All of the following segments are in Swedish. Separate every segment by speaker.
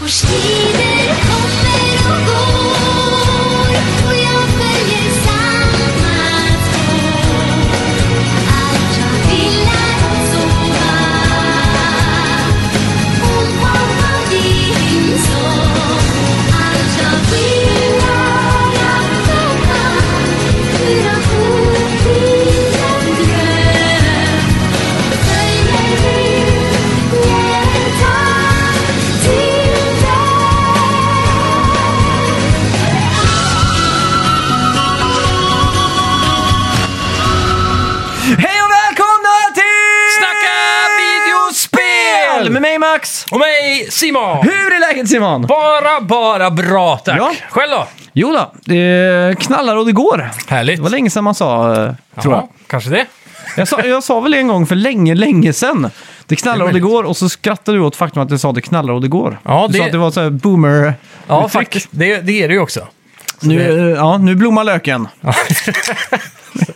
Speaker 1: Vår tider kommer och går och jag följer samma spår. Allt jag vill är att sova och mamma din sång. Allt jag vill är att veta hur han fort blir en dröm. Följ mig nu, jag vill ta till dig
Speaker 2: Hej och välkomna till
Speaker 3: Snacka videospel!
Speaker 2: Med mig Max!
Speaker 3: Och mig Simon!
Speaker 2: Hur är läget Simon?
Speaker 3: Bara, bara bra tack!
Speaker 2: Ja.
Speaker 3: Själv då?
Speaker 2: Jo då, det knallar och det går.
Speaker 3: Härligt.
Speaker 2: Det var länge sedan man sa, eh, tror jag.
Speaker 3: Ja, kanske det.
Speaker 2: Jag sa, jag sa väl en gång för länge, länge sedan. Det knallar
Speaker 3: Det är
Speaker 2: och det går och så skrattade du åt faktum att jag sa det knallar och det går.
Speaker 3: Ja,
Speaker 2: Du
Speaker 3: det-
Speaker 2: sa att det var så här boomer
Speaker 3: Ja, faktiskt. Det, det är det ju också.
Speaker 2: Nu, eh, ja, nu blommar löken.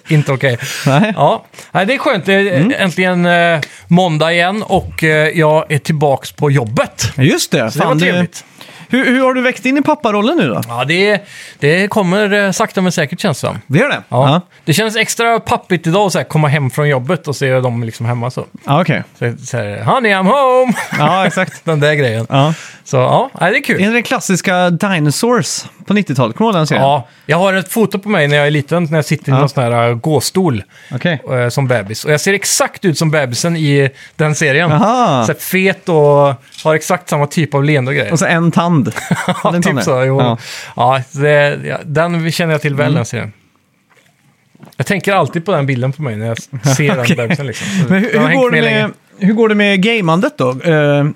Speaker 3: Inte okej.
Speaker 2: Nej. Mm.
Speaker 3: Ja. Nej, det är skönt. Det är äntligen eh, måndag igen och eh, jag är tillbaks på jobbet.
Speaker 2: Just det.
Speaker 3: Så det var trevligt.
Speaker 2: Hur, hur har du växt in i papparollen nu då?
Speaker 3: Ja, det, det kommer eh, sakta men säkert känns det som.
Speaker 2: Det gör det?
Speaker 3: Ja.
Speaker 2: Ja,
Speaker 3: Det känns extra pappigt idag att så här, komma hem från jobbet och se dem liksom hemma så.
Speaker 2: ja okej.
Speaker 3: så, så här, Honey, I'm home!
Speaker 2: Ja, exakt.
Speaker 3: Den där grejen.
Speaker 2: Ja.
Speaker 3: Så ja, nej, det är kul.
Speaker 2: Är det den klassiska Dinosaurs på 90-talet? Kommer du ihåg den serien?
Speaker 3: Ja, jag har ett foto på mig när jag är liten, när jag sitter i
Speaker 2: Ja.
Speaker 3: någon sån här äh, gåstol
Speaker 2: Okej.
Speaker 3: äh, som bebis. Och jag ser exakt ut som bebisen i den serien.
Speaker 2: Aha.
Speaker 3: Så här fet och har exakt samma typ av leende och grejer.
Speaker 2: Och så en tand.
Speaker 3: Ja,
Speaker 2: Den
Speaker 3: typ
Speaker 2: tanden.
Speaker 3: så. Jo.
Speaker 2: Ja. Mm.
Speaker 3: Ja. det, ja, den känner jag till väl, den serien. Jag tänker alltid på den bilden på mig när jag s- ser
Speaker 2: Okej.
Speaker 3: den bebisen. Liksom. Så
Speaker 2: Men
Speaker 3: den
Speaker 2: hur,
Speaker 3: har
Speaker 2: hur,
Speaker 3: hängt
Speaker 2: går det
Speaker 3: länge.
Speaker 2: med, hur går det med gamandet då? Eh,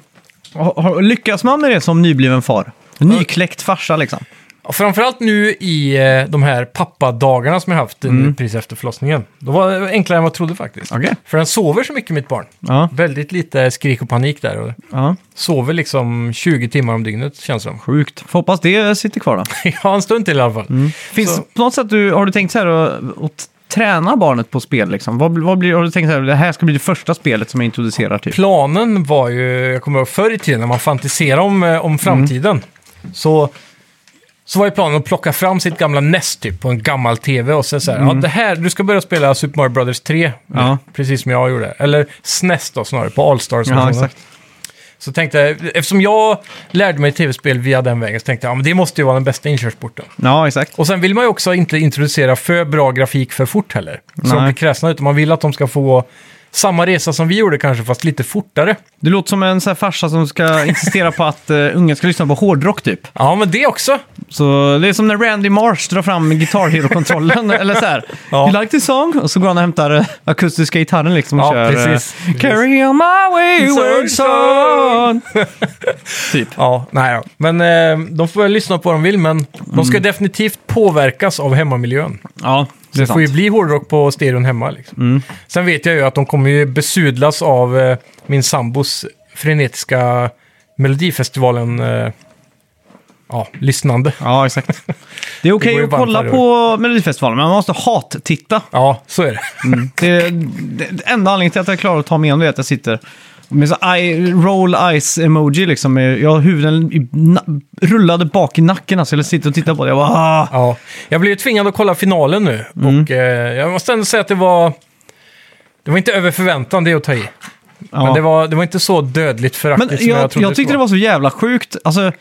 Speaker 2: har- har- lyckas man med det som nybliven far? Nykläckt farsa liksom.
Speaker 3: Och Framförallt nu i eh, de här pappadagarna som jag haft mm. precis efter förlossningen. Då var det enklare än vad jag trodde faktiskt.
Speaker 2: Okej.
Speaker 3: För den sover så mycket, mitt barn.
Speaker 2: Ja,
Speaker 3: Väldigt lite skrik och panik där. Och
Speaker 2: ja.
Speaker 3: sover liksom 20 timmar om dygnet känns det som.
Speaker 2: Sjukt. Får hoppas det sitter kvar då.
Speaker 3: ja, en stund till i alla fall.
Speaker 2: Mm. Finns
Speaker 3: Mm. Så-
Speaker 2: på något sätt du, har du tänkt så här att, att träna barnet på spel liksom? Vad, blir- vad blir, har du tänkt så här, det här ska bli det första spelet som jag introducerar typ?
Speaker 3: Planen var ju, jag kommer ihåg förr i tiden när man fantiserade om, eh, om framtiden.
Speaker 2: Mm.
Speaker 3: Så, så var ju planen att plocka fram sitt gamla NES typ på en gammal tv och sen så här, ja det här, du ska börja spela Super Mario Brothers 3.
Speaker 2: Mm. Ja.
Speaker 3: Precis som jag gjorde. Eller SNES då snarare, på Allstars.
Speaker 2: Ja, exakt.
Speaker 3: Så tänkte jag, eftersom jag lärde mig tv-spel via den vägen så tänkte jag, ja men det måste ju vara den bästa inkörsporten.
Speaker 2: Ja, exakt.
Speaker 3: Och sen vill man ju också inte introducera för bra grafik för fort heller. Så de
Speaker 2: Nej.
Speaker 3: blir kräsna, utan man vill att de ska få samma resa som vi gjorde kanske, fast lite fortare.
Speaker 2: Du låter som en så här farsa som ska insistera på att uh, ungen ska lyssna på hårdrock typ.
Speaker 3: Ja, men det också.
Speaker 2: Så det är som när Randy Marsh drar fram Guitar Hero-kontrollen, eller så här.
Speaker 3: Ja.
Speaker 2: You like this song? Och så går han och hämtar eh, akustiska gitarren liksom och
Speaker 3: Ja,
Speaker 2: kör... eh,
Speaker 3: precis.
Speaker 2: Carry on my wayward son! typ.
Speaker 3: Ja, nej då. Men eh, de får väl lyssna på vad de vill, men de ska definitivt påverkas av hemmamiljön.
Speaker 2: Ja, Mm. det är
Speaker 3: Det får ju
Speaker 2: sant. Mm.
Speaker 3: bli hårdrock på stereon hemma. Liksom. Sen vet jag ju att de kommer ju besudlas av eh, min sambos frenetiska Melodifestivalen eh, ja, lyssnande.
Speaker 2: Ja, exakt. Det är okej
Speaker 3: går ju
Speaker 2: att
Speaker 3: varmt
Speaker 2: kolla
Speaker 3: varje
Speaker 2: på Melodifestivalen, men man måste hat-titta.
Speaker 3: Ja, så är det.
Speaker 2: Det, är- det, det enda anledningen till att jag klarar att ta mig igenom det är att jag sitter med så eye, roll eyes-emoji liksom. Jag har huvuden i, na, rullade bak i nacken alltså. Jag sitter och tittar på det. Jag bara... "Ah."
Speaker 3: Ja, jag blev ju tvingad att kolla finalen nu.
Speaker 2: Mm.
Speaker 3: Och eh, jag måste ändå säga att det var... Det var inte över förväntan det att ta i.
Speaker 2: Ja.
Speaker 3: Men det var, det var inte så dödligt
Speaker 2: Men jag,
Speaker 3: föraktligt som jag,
Speaker 2: jag,
Speaker 3: trodde
Speaker 2: tyckte det var så jävla sjukt. Alltså, eh,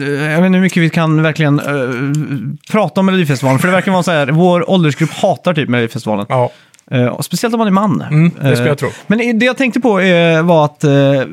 Speaker 2: jag vet inte hur mycket vi kan verkligen eh, prata om Melodifestivalen, för det verkar vara så här, vår åldersgrupp hatar typ Melodifestivalen.
Speaker 3: Ja,
Speaker 2: Eh, och speciellt om man är man.
Speaker 3: Mm, det skulle
Speaker 2: Eh,
Speaker 3: jag tro.
Speaker 2: Men i- det jag tänkte på eh, var att eh, jag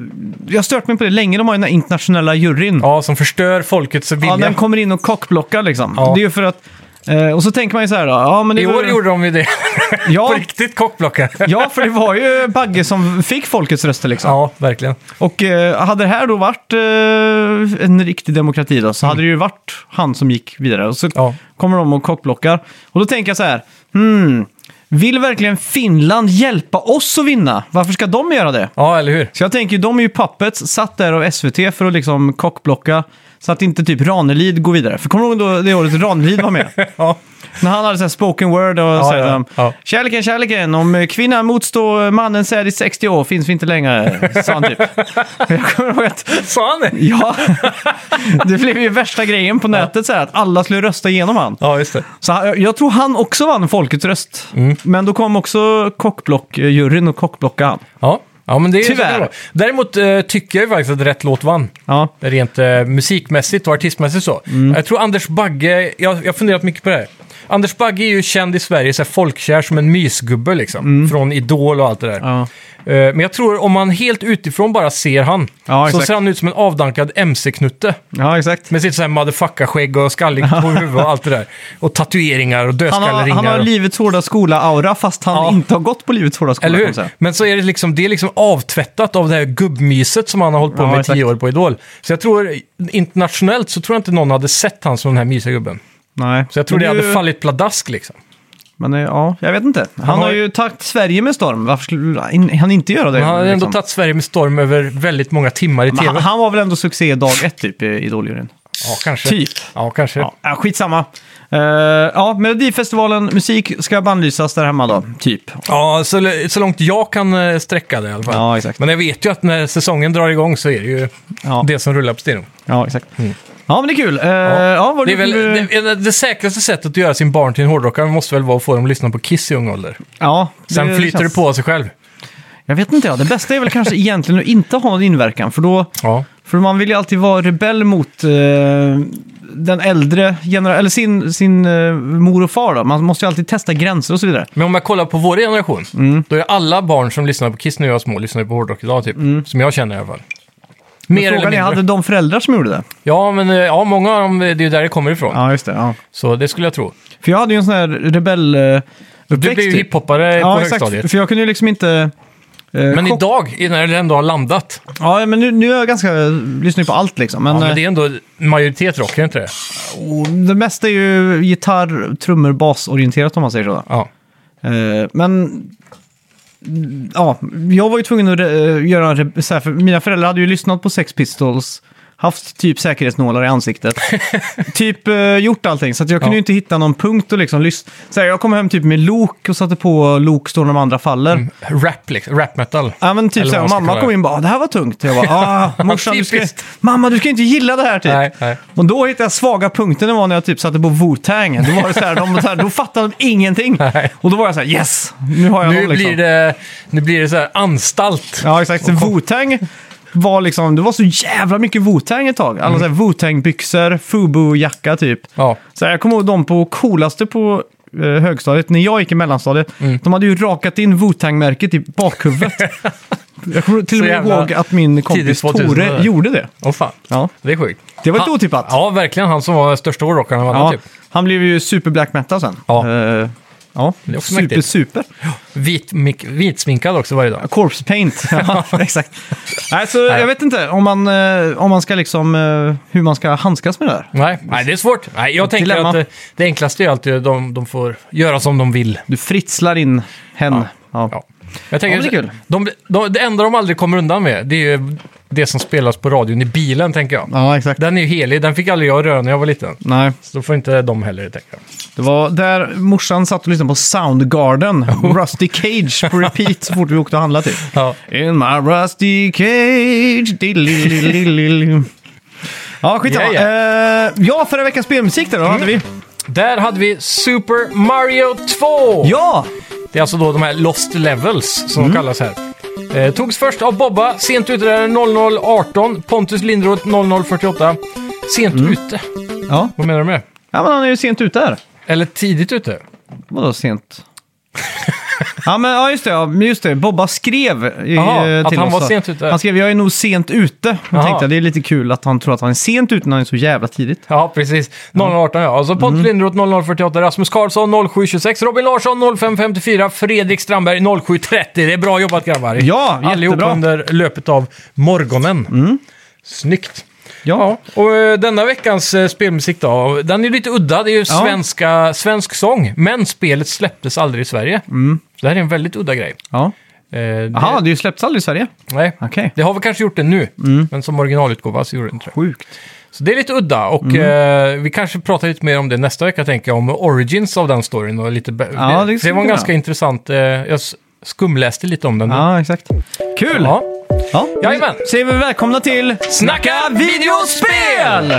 Speaker 2: har stört mig på det länge, de har ju den här internationella juryn.
Speaker 3: ja, som förstör folkets vilja.
Speaker 2: Ja, den kommer in och kockblockar liksom.
Speaker 3: Ja.
Speaker 2: Det är ju för att, eh, och så tänker man ju så här då, ja men det
Speaker 3: I
Speaker 2: var
Speaker 3: år
Speaker 2: ju-
Speaker 3: gjorde de ju det. På
Speaker 2: ja,
Speaker 3: riktigt kockblocka.
Speaker 2: ja, för det var ju Bagge som fick folkets röster liksom.
Speaker 3: Ja, verkligen.
Speaker 2: Och eh, hade det här då varit eh, en riktig demokrati då, så hade det ju varit han som gick vidare. Och så
Speaker 3: Mm. Ja.
Speaker 2: kommer de och kockblockar. Och då tänker jag så här, hmm, Vill verkligen Finland hjälpa oss att vinna? Varför ska de göra det?
Speaker 3: Ja, eller hur?
Speaker 2: Så jag tänker, de är ju puppets, satt där av SVT för att liksom kockblocka så att inte typ Ranelid går vidare. För kommer du ihåg då det året Ranelid var med?
Speaker 3: Ja.
Speaker 2: När han hade så här spoken word och så här,
Speaker 3: ja,
Speaker 2: um,
Speaker 3: ja.
Speaker 2: Kärleken, kärleken, om eh, kvinnan motstår mannen säd i 60 år finns vi inte längre. Sa han typ. jag kommer ihåg att,
Speaker 3: Sa han det?
Speaker 2: ja, det blev ju värsta grejen på nätet så här, att alla skulle rösta igenom han.
Speaker 3: Ja, just det.
Speaker 2: Så han, jag tror han också vann folkets röst.
Speaker 3: Mm.
Speaker 2: Men då kom också kockblock, juryn och kockblockade han.
Speaker 3: Ja, ja men det är
Speaker 2: Tyvärr.
Speaker 3: så bra. Däremot eh, tycker jag ju faktiskt att rätt låt vann.
Speaker 2: Ja.
Speaker 3: Rent eh, musikmässigt och artistmässigt så.
Speaker 2: Mm.
Speaker 3: Jag tror Anders Bagge, jag jag har funderat mycket på det här. Anders Bagge är ju känd i Sverige, så här folkkär som en mysgubbe liksom. Från Idol och allt det där.
Speaker 2: Mm. Ja.
Speaker 3: Eh, Men jag tror om man helt utifrån bara ser han,
Speaker 2: Ja,
Speaker 3: så
Speaker 2: exakt.
Speaker 3: ser han ut som en avdankad mc-knutte.
Speaker 2: ja, exakt.
Speaker 3: Med sitt sån här motherfucker-skägg och skallig på huvud och allt det där. Och tatueringar och
Speaker 2: Han har,
Speaker 3: dödskalleringar.
Speaker 2: han har
Speaker 3: och-
Speaker 2: livets hårda skola-aura fast han
Speaker 3: Ja.
Speaker 2: inte har gått på livets hårda skola.
Speaker 3: Eller
Speaker 2: kan man
Speaker 3: hur?
Speaker 2: säga.
Speaker 3: Men så är det liksom, det är liksom avtvättat av det här gubbmyset som han har hållit på
Speaker 2: Ja,
Speaker 3: med i
Speaker 2: exakt.
Speaker 3: tio år på Idol. Så jag tror, internationellt så tror jag inte någon hade sett han som den här mysiga gubben.
Speaker 2: Nej.
Speaker 3: Så jag tror
Speaker 2: Men
Speaker 3: det
Speaker 2: är
Speaker 3: hade
Speaker 2: ju-
Speaker 3: fallit pladask liksom.
Speaker 2: Men eh, ja, jag vet inte. Han,
Speaker 3: har
Speaker 2: har ju tagit Sverige med storm. Varför skulle in- han inte göra det?
Speaker 3: Men han hade ändå
Speaker 2: liksom?
Speaker 3: tagit Sverige med storm över väldigt många timmar i
Speaker 2: Men han,
Speaker 3: tv.
Speaker 2: han var väl ändå succé dag ett typ i Idoljuryn?
Speaker 3: Ja, kanske.
Speaker 2: Typ.
Speaker 3: Ja, kanske.
Speaker 2: Ja, ja, skitsamma. Uh, ja, Melodifestivalen, musik ska bannlysas där hemma då, typ.
Speaker 3: Ja, så, så långt jag kan eh, sträcka det i alla fall.
Speaker 2: Ja, exakt.
Speaker 3: Men jag vet ju att när säsongen drar igång så är det ju
Speaker 2: Ja.
Speaker 3: det som rullar på stenen.
Speaker 2: Ja, exakt. Ja, men det är kul. Eh, ja. vad
Speaker 3: Det, är
Speaker 2: du-
Speaker 3: väl, det, det, det säkraste sättet att göra sin barn till en hårdrockare måste väl vara att få dem att lyssna på Kiss i ung ålder.
Speaker 2: ja, det
Speaker 3: Sen flyter
Speaker 2: känns-
Speaker 3: det på av sig själv.
Speaker 2: Jag vet inte, ja. det bästa är väl kanske egentligen att inte ha någon inverkan, för då...
Speaker 3: Ja.
Speaker 2: För man vill ju alltid vara rebell mot eh, den äldre generationen, eller sin, sin eh, mor och far då. Man måste ju alltid testa gränser och så vidare.
Speaker 3: Men om jag kollar på vår generation,
Speaker 2: Mm.
Speaker 3: då är alla barn som lyssnar på Kiss när jag var små, lyssnar på hårdrock idag typ. Som jag känner i alla fall. Mer eller
Speaker 2: Mm. Frågan är,
Speaker 3: mindre.
Speaker 2: hade de föräldrar som gjorde det?
Speaker 3: Ja, men eh, ja, många av dem, det är ju där det kommer ifrån.
Speaker 2: Ja, just det. Ja.
Speaker 3: Så det skulle jag tro.
Speaker 2: För jag hade ju en sån här rebell eh,
Speaker 3: Du
Speaker 2: uppväxt.
Speaker 3: blev ju
Speaker 2: typ.
Speaker 3: hiphoppare på
Speaker 2: ja, exakt.
Speaker 3: högstadiet.
Speaker 2: För jag kunde ju liksom inte... eh,
Speaker 3: Men
Speaker 2: chock-
Speaker 3: idag, när det ändå har landat,
Speaker 2: Ja, men nu, nu är jag ganska... Lyssnar ju på allt liksom. Men,
Speaker 3: ja, men
Speaker 2: eh,
Speaker 3: det är ändå majoritet rock, är det inte det?
Speaker 2: och det mesta är ju gitarr, trummor, basorienterat om man säger så.
Speaker 3: Ja.
Speaker 2: Eh, men... Ja, jag var ju tvungen att eh, göra en... re- Så här, för mina föräldrar hade ju lyssnat på Sex Pistols, haft typ säkerhetsnålar i ansiktet, typ eh, gjort allting. Så att jag kunde
Speaker 3: Ja.
Speaker 2: ju inte hitta någon punkt och liksom lyssna. Så här, jag kom hem typ med Lok och satte på eh, Lok står de andra faller.
Speaker 3: Rap, liksom. Rap metal.
Speaker 2: Ja men typ
Speaker 3: Eller
Speaker 2: såhär,
Speaker 3: vad man ska
Speaker 2: mamma
Speaker 3: kalla
Speaker 2: kom
Speaker 3: det.
Speaker 2: in och bara "Ah, det här var tungt. Jag bara ah, morsan, du ska,
Speaker 3: Typiskt.
Speaker 2: mamma du ska inte gilla det här typ.
Speaker 3: Nej, nej.
Speaker 2: Och då hittade jag svaga punkten det var när jag typ satte på Wu-Tang. Då var det såhär, de, så här, då fattade de ingenting.
Speaker 3: Nej.
Speaker 2: Och då var jag såhär yes, nu har jag
Speaker 3: Nu
Speaker 2: någon liksom.
Speaker 3: blir det, nu blir det så här anstalt.
Speaker 2: Ja exakt, så Wu-Tang var liksom, det var så jävla mycket Wu-Tang ett tag. Alla mm. såhär Wu-Tang-byxor, Fubu-jacka typ.
Speaker 3: Ja.
Speaker 2: Så här, jag kommer ihåg de på coolaste på eh, högstadiet, när jag gick i mellanstadiet,
Speaker 3: Mm.
Speaker 2: de hade ju rakat in Wu-Tang-märket i bakhuvudet. jag kommer till och
Speaker 3: Så
Speaker 2: med
Speaker 3: jävla
Speaker 2: ihåg att min kompis
Speaker 3: tidigt 2000
Speaker 2: Tore
Speaker 3: där.
Speaker 2: gjorde det.
Speaker 3: Åh fan.
Speaker 2: Ja.
Speaker 3: Det är sjukt.
Speaker 2: Det var lite
Speaker 3: Han-
Speaker 2: otippat.
Speaker 3: Ja, verkligen. Han som var största hårdrockaren av alla
Speaker 2: Ja,
Speaker 3: typ.
Speaker 2: han blev ju super-black metal sen.
Speaker 3: Ja.
Speaker 2: Eh, ja.
Speaker 3: är också
Speaker 2: super,
Speaker 3: mäktigt.
Speaker 2: super.
Speaker 3: Vit, mik- vitsminkad också varje dag.
Speaker 2: Corpse paint. Ja, exakt. Nej, så jag vet inte om man, eh, om man ska liksom, eh, hur man ska handskas med det där.
Speaker 3: Nej, nej, det är svårt. Nej, jag tänker
Speaker 2: dilemma.
Speaker 3: att det, det enklaste är alltid att de, de får göra som de vill.
Speaker 2: Du fritslar in hen. Ja.
Speaker 3: Ja. Jag tänker,
Speaker 2: Ja, men det är kul.
Speaker 3: De, de, det enda de aldrig kommer undan med, det är ju det som spelas på radion i bilen, tänker jag.
Speaker 2: Ja, exakt.
Speaker 3: Den är ju helig, den fick aldrig jag röra när jag var liten.
Speaker 2: Nej.
Speaker 3: Så då får inte de heller, tänker jag.
Speaker 2: Det var där morsan satt och lyssnade på Soundgarden, Rusty Cage på repeat så fort vi åkte och handlade typ.
Speaker 3: Ja.
Speaker 2: In my rusty cage. diddly-diddly-diddly. Ja, skitsamma.
Speaker 3: Ja,
Speaker 2: Eh, ja, Mm. förra veckans spelmusik där då hade vi.
Speaker 3: Där hade vi Super Mario 2!
Speaker 2: Ja!
Speaker 3: Det är alltså då de här Lost Levels som de kallas här. Eh, togs först av Bobba, sent ute där 0018, Pontus Lindroth 0048. Sent ute?
Speaker 2: Ja.
Speaker 3: Vad menar du med det?
Speaker 2: ja, men han är ju sent ute här.
Speaker 3: Eller tidigt ute?
Speaker 2: Vadå sent? ja, men ja, just det. Ja, men just det. Bobba skrev i,
Speaker 3: Jaha,
Speaker 2: eh,
Speaker 3: att
Speaker 2: till
Speaker 3: han
Speaker 2: oss.
Speaker 3: var
Speaker 2: då.
Speaker 3: sent ute.
Speaker 2: Han skrev jag är nog sent ute. Jag
Speaker 3: Jaha.
Speaker 2: tänkte det är lite kul att han tror att han är sent ute när han är så jävla tidigt.
Speaker 3: Ja, precis. 0018 ja. Alltså Pontus Lindroth 0048, Rasmus Karlsson 0726, Robin Larsson 0554, Fredrik Strandberg 0730. Det är bra jobbat grabbar.
Speaker 2: Ja,
Speaker 3: Allihop
Speaker 2: jättebra.
Speaker 3: under löpet av morgonen. Snyggt.
Speaker 2: Ja.
Speaker 3: Ja, och eh, denna veckans eh, spelmusik då, den är ju lite udda. Det är ju
Speaker 2: Ja.
Speaker 3: svenska, svensk sång, men spelet släpptes aldrig i Sverige. Så det här är en väldigt udda grej.
Speaker 2: ja.
Speaker 3: Eh, det,
Speaker 2: Mm. Jaha, det är ju släppts aldrig i Sverige.
Speaker 3: nej.
Speaker 2: Okej. Mm.
Speaker 3: det har vi kanske gjort det nu, men som originalutgåva så gjorde det inte det.
Speaker 2: Sjukt.
Speaker 3: Så det är lite udda och
Speaker 2: Mm.
Speaker 3: eh, vi kanske pratar lite mer om det nästa vecka, tänker jag, om origins av den storyn. Och lite be-
Speaker 2: Ja, det
Speaker 3: det,
Speaker 2: skulle
Speaker 3: var en
Speaker 2: kunna.
Speaker 3: ganska intressant, eh, jag s- skumläste lite om den. nu.
Speaker 2: Ja, exakt. Kul!
Speaker 3: Mm. Ja.
Speaker 2: Ja.
Speaker 3: Jajamän.
Speaker 2: Säger vi välkomna till
Speaker 3: Snacka videospel!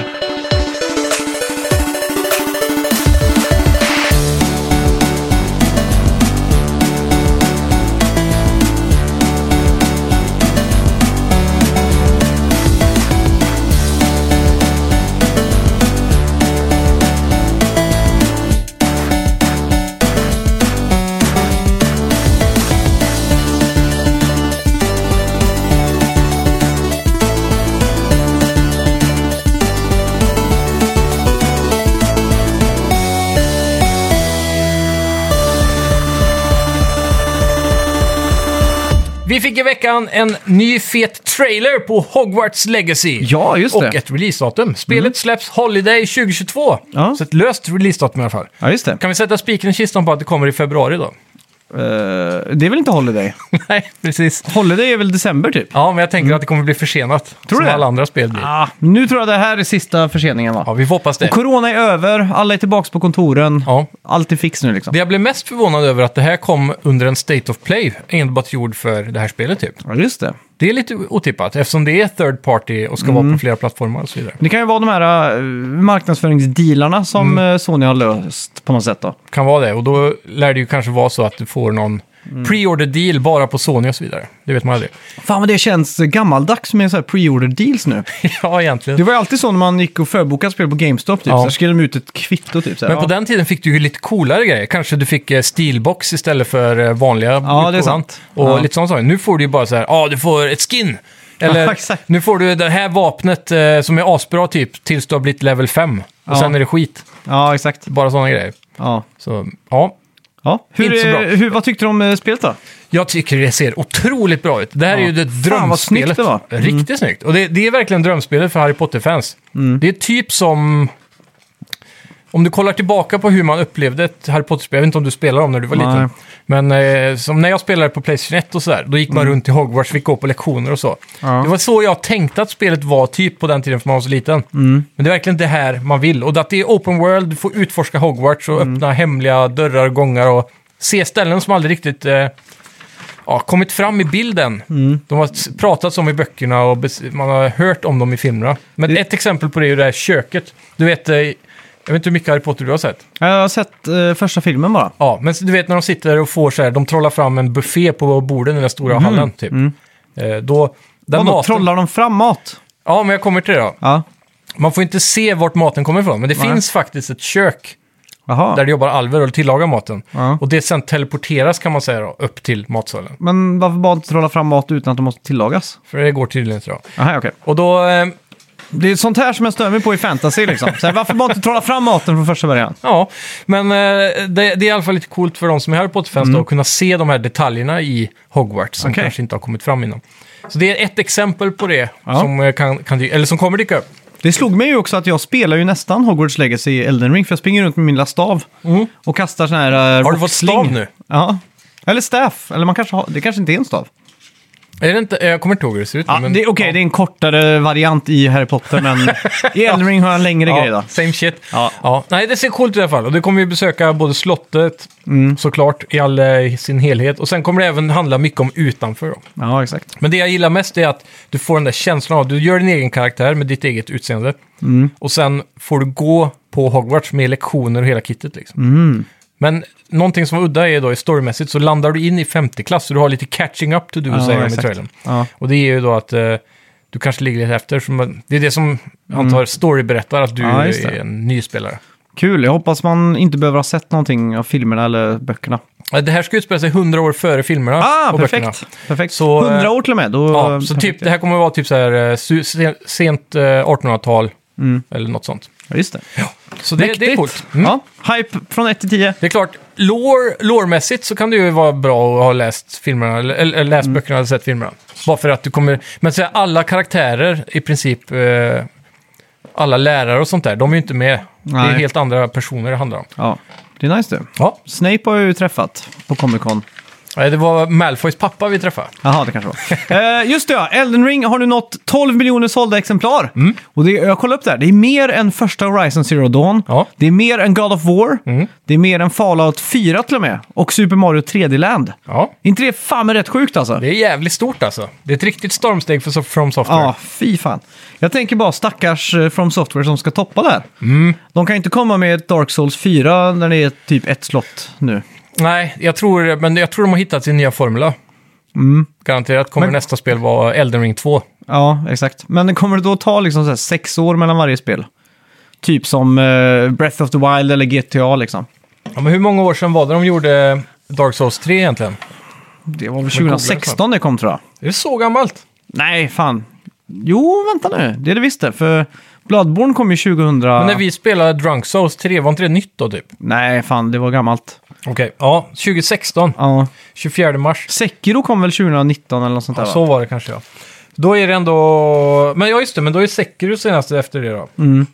Speaker 3: Vi fick i veckan en ny fet trailer på Hogwarts Legacy.
Speaker 2: Ja, just
Speaker 3: och
Speaker 2: det. Mm.
Speaker 3: ett releasedatum. Spelet släpps Holiday 2022.
Speaker 2: Ja.
Speaker 3: Så ett löst releasedatum i alla fall.
Speaker 2: Ja, just det.
Speaker 3: Kan vi sätta spiken i kistan på att det kommer i februari då?
Speaker 2: Eh, det är väl inte Holiday?
Speaker 3: Nej, precis.
Speaker 2: Holiday är väl december typ?
Speaker 3: Ja, men jag tänker att det kommer bli försenat.
Speaker 2: Tror
Speaker 3: som
Speaker 2: du det?
Speaker 3: alla andra spel blir.
Speaker 2: Ah, nu tror jag det här är sista förseningen va?
Speaker 3: Ja, vi får hoppas det.
Speaker 2: Corona är över, alla är tillbaka på kontoren.
Speaker 3: Ja.
Speaker 2: Allt är fix nu liksom.
Speaker 3: Det jag blev mest förvånad över att det här kom under en State of Play, enbart gjord för det här spelet typ.
Speaker 2: Ja, just det.
Speaker 3: Det är lite otippat, eftersom det är third party och ska
Speaker 2: Mm.
Speaker 3: vara på flera plattformar och så vidare.
Speaker 2: Det kan ju vara de här eh, marknadsföringsdealarna som eh, Sony har löst på något sätt då.
Speaker 3: kan vara det. Och då lär det ju kanske vara så att du får någon
Speaker 2: Mm.
Speaker 3: pre-order deal bara på Sony och så vidare. Det vet man aldrig.
Speaker 2: Fan vad det känns eh, gammaldags med så här pre-order deals nu.
Speaker 3: ja,
Speaker 2: Det
Speaker 3: egentligen.
Speaker 2: var ju alltid så när man gick och förbokade spel på GameStop, typ.
Speaker 3: Ja.
Speaker 2: så här skrev de ut ett kvitto. Typ, så här.
Speaker 3: Men på
Speaker 2: ja.
Speaker 3: den tiden fick du ju lite coolare grejer. Kanske du fick eh, steelbox istället för eh, vanliga
Speaker 2: det är
Speaker 3: utgåvan.
Speaker 2: sant.
Speaker 3: Och
Speaker 2: Ja.
Speaker 3: lite sådana saker. Nu får du ju bara så här, ja, ah, du får ett skin.
Speaker 2: Ja,
Speaker 3: Eller,
Speaker 2: exakt.
Speaker 3: nu får du det här vapnet eh, som är asbra typ, tills du har blivit level 5. Och
Speaker 2: Ja.
Speaker 3: sen är det skit.
Speaker 2: ja, exakt.
Speaker 3: Bara sådana grejer.
Speaker 2: Ja.
Speaker 3: Så, ja.
Speaker 2: Ja. Hur,
Speaker 3: Inte så
Speaker 2: eh,
Speaker 3: bra.
Speaker 2: hur, vad tyckte du om eh, spelet då?
Speaker 3: Jag tycker det ser otroligt bra ut. Det här
Speaker 2: Ja.
Speaker 3: är ju det
Speaker 2: Fan, vad
Speaker 3: drömspelet.
Speaker 2: snyggt det var. Mm.
Speaker 3: Riktigt snyggt. Och det, det är verkligen drömspelet för Harry Potter-fans.
Speaker 2: Mm.
Speaker 3: Det är typ som... Om du kollar tillbaka på hur man upplevde ett Harry Potter-spel, jag vet inte om du spelade om när du var
Speaker 2: Nej. Mm.
Speaker 3: liten. Men eh, som när jag spelade på Playstation 1 och sådär, då gick man runt i Hogwarts, fick gå på lektioner och så.
Speaker 2: Ja.
Speaker 3: Det var så jag tänkte att spelet var typ på den tiden för man var så liten.
Speaker 2: Mm.
Speaker 3: Men det är verkligen det här man vill. Och att det är open world, du får utforska Hogwarts och
Speaker 2: Mm.
Speaker 3: öppna hemliga dörrar och gångar och se ställen som aldrig riktigt eh, ja, kommit fram i bilden.
Speaker 2: Mm.
Speaker 3: De har s- pratats om i böckerna och bes- man har hört om dem i filmerna. Men
Speaker 2: Det-
Speaker 3: ett exempel på det är ju det här köket. Du vet, eh, jag vet inte hur mycket Harry Potter du har sett.
Speaker 2: Jag har sett eh, första filmen bara.
Speaker 3: Ja, men du vet när de sitter och får så här, de trollar fram en buffé på borden i den stora hallen typ. Eh, då, den
Speaker 2: Mm. Vadå, trollar de fram mat?
Speaker 3: Ja, men jag kommer till det då.
Speaker 2: Ja.
Speaker 3: Man får inte se vart maten kommer ifrån, men det
Speaker 2: Nej.
Speaker 3: finns faktiskt ett kök
Speaker 2: Jaha.
Speaker 3: där det jobbar alver och tillagar maten.
Speaker 2: Ja.
Speaker 3: Och det sen teleporteras kan man säga då, upp till matsalen.
Speaker 2: Men varför bara inte trolla fram mat utan att de måste tillagas?
Speaker 3: För det går tydligen inte då.
Speaker 2: Aha, okej.
Speaker 3: Och då, eh,
Speaker 2: Det är sånt här som jag stör mig på i fantasy liksom. Så här, varför bara inte trolla fram maten från första början?
Speaker 3: ja, men eh, det, det är i alla fall lite coolt för de som är Harry Potter-fans då att kunna se de här detaljerna i Hogwarts som
Speaker 2: Mm. Okej.
Speaker 3: kanske inte har kommit fram innan. Så det är ett exempel på det
Speaker 2: Ja.
Speaker 3: som, eh, kan, kan, dy- eller som kommer dyka upp.
Speaker 2: Det slog mig ju också att jag spelar ju nästan Hogwarts Legacy i Elden Ring, för jag springer runt med min lilla stav och kastar sån här... eh,
Speaker 3: Mm. Har du fått
Speaker 2: rocksling.
Speaker 3: stav nu?
Speaker 2: Ja. Eller staff, eller man kanske har, det kanske inte är en stav.
Speaker 3: Är det inte, eh, jag kommer inte ihåg hur det ser ut.
Speaker 2: Ja,
Speaker 3: men-
Speaker 2: det, Okej, det är en kortare variant i Harry Potter, men i Elden Ring har jag en längre grej då.
Speaker 3: ja, same shit.
Speaker 2: Ja.
Speaker 3: Ja. Nej, det ser coolt ut i alla fall. Och det kommer ju besöka både slottet,
Speaker 2: Mm.
Speaker 3: såklart, i all eh, sin helhet. Och sen kommer det även handla mycket om utanför. Då.
Speaker 2: Ja, exakt.
Speaker 3: Men det jag gillar mest är att du får den där känslan av, du gör din egen karaktär med ditt eget utseende.
Speaker 2: Mm.
Speaker 3: Och sen får du gå på Hogwarts med lektioner och hela kittet
Speaker 2: Mm.
Speaker 3: liksom. Men någonting som var udda är då i storymässigt så landar du in i femte klass så du har lite catching up to do,
Speaker 2: Ja,
Speaker 3: säger de i
Speaker 2: exakt.
Speaker 3: trailern.
Speaker 2: Ja.
Speaker 3: Och det är ju då att eh, du kanske ligger lite efter. Som, att- det är det som jag antar story berättar, att du
Speaker 2: Mm. Ja, just det.
Speaker 3: är en ny spelare.
Speaker 2: Kul, jag hoppas man inte behöver ha sett någonting av filmerna eller böckerna.
Speaker 3: Eh, Det här ska utspela sig 100 år före filmerna
Speaker 2: Ah,
Speaker 3: och
Speaker 2: perfekt.
Speaker 3: böckerna.
Speaker 2: perfekt.
Speaker 3: Så, eh,
Speaker 2: 100 år till och med. Då,
Speaker 3: Ja, så typ, det här kommer vara typ så här, eh, su- sen- sent eh, 1800-tal eller något sånt.
Speaker 2: Ja, just det.
Speaker 3: Så det, det är
Speaker 2: Mm. Mäktigt.
Speaker 3: coolt. Mm.
Speaker 2: Ja, hype från 1 till 10.
Speaker 3: Det är klart, lore, lore-mässigt så kan det ju vara bra att ha läst filmerna, eller, eller läst
Speaker 2: Mm.
Speaker 3: böckerna eller sett filmerna. Bara för att du kommer... Men så här, alla karaktärer i princip eh, alla lärare och sånt där, de är ju inte med. Det
Speaker 2: Nej.
Speaker 3: är helt andra personer det handlar om.
Speaker 2: Ja, det är nice det.
Speaker 3: Ja,
Speaker 2: Snape har jag ju träffat på Comic Con.
Speaker 3: Nej, det var Malfoys pappa vi träffade.
Speaker 2: Jaha, det kanske var. Eh, just det, ja. Elden Ring har nu nått 12 miljoner sålda exemplar. Och det, jag kollade upp det här. Det är mer än första Horizon Zero Dawn.
Speaker 3: Ja.
Speaker 2: Det är mer än God of War. Det är mer än Fallout 4 till och med. Och Super Mario 3D Land.
Speaker 3: Ja.
Speaker 2: Är inte det fan med rätt sjukt alltså?
Speaker 3: Det är jävligt stort alltså. Det är ett riktigt stormsteg för So- From Software.
Speaker 2: Ja, fy fan. Jag tänker bara stackars eh, From Software som ska toppa det här. De kan ju inte komma med ett Dark Souls 4 när det är typ ett slott nu.
Speaker 3: Nej, jag tror, men jag tror de har hittat sin nya formula. Garanterat kommer
Speaker 2: Mm. Men-
Speaker 3: nästa spel vara Elden Ring 2.
Speaker 2: Ja, exakt. Men det kommer det då ta liksom så här sex år mellan varje spel? Typ som eh, Breath of the Wild eller GTA liksom.
Speaker 3: Ja, men hur många år sedan var det de gjorde Dark Souls 3 egentligen?
Speaker 2: Det var väl 2016 det kom tror jag.
Speaker 3: Det är så gammalt.
Speaker 2: Nej, fan. Jo, vänta nu. Det är det visst det. För Bloodborne kom ju 2000...
Speaker 3: Men när vi spelade Drunk Souls 3, var inte det nytt då typ?
Speaker 2: Nej, fan. Det var gammalt.
Speaker 3: Okej, ja. 2016,
Speaker 2: Ja.
Speaker 3: 24 mars.
Speaker 2: Sekiro kom väl 2019 eller något sånt där?
Speaker 3: Ja,
Speaker 2: va?
Speaker 3: så var det kanske ja. Då är det ändå... Men ja, just det, men då är Sekiro senaste efter det då.
Speaker 2: Mm.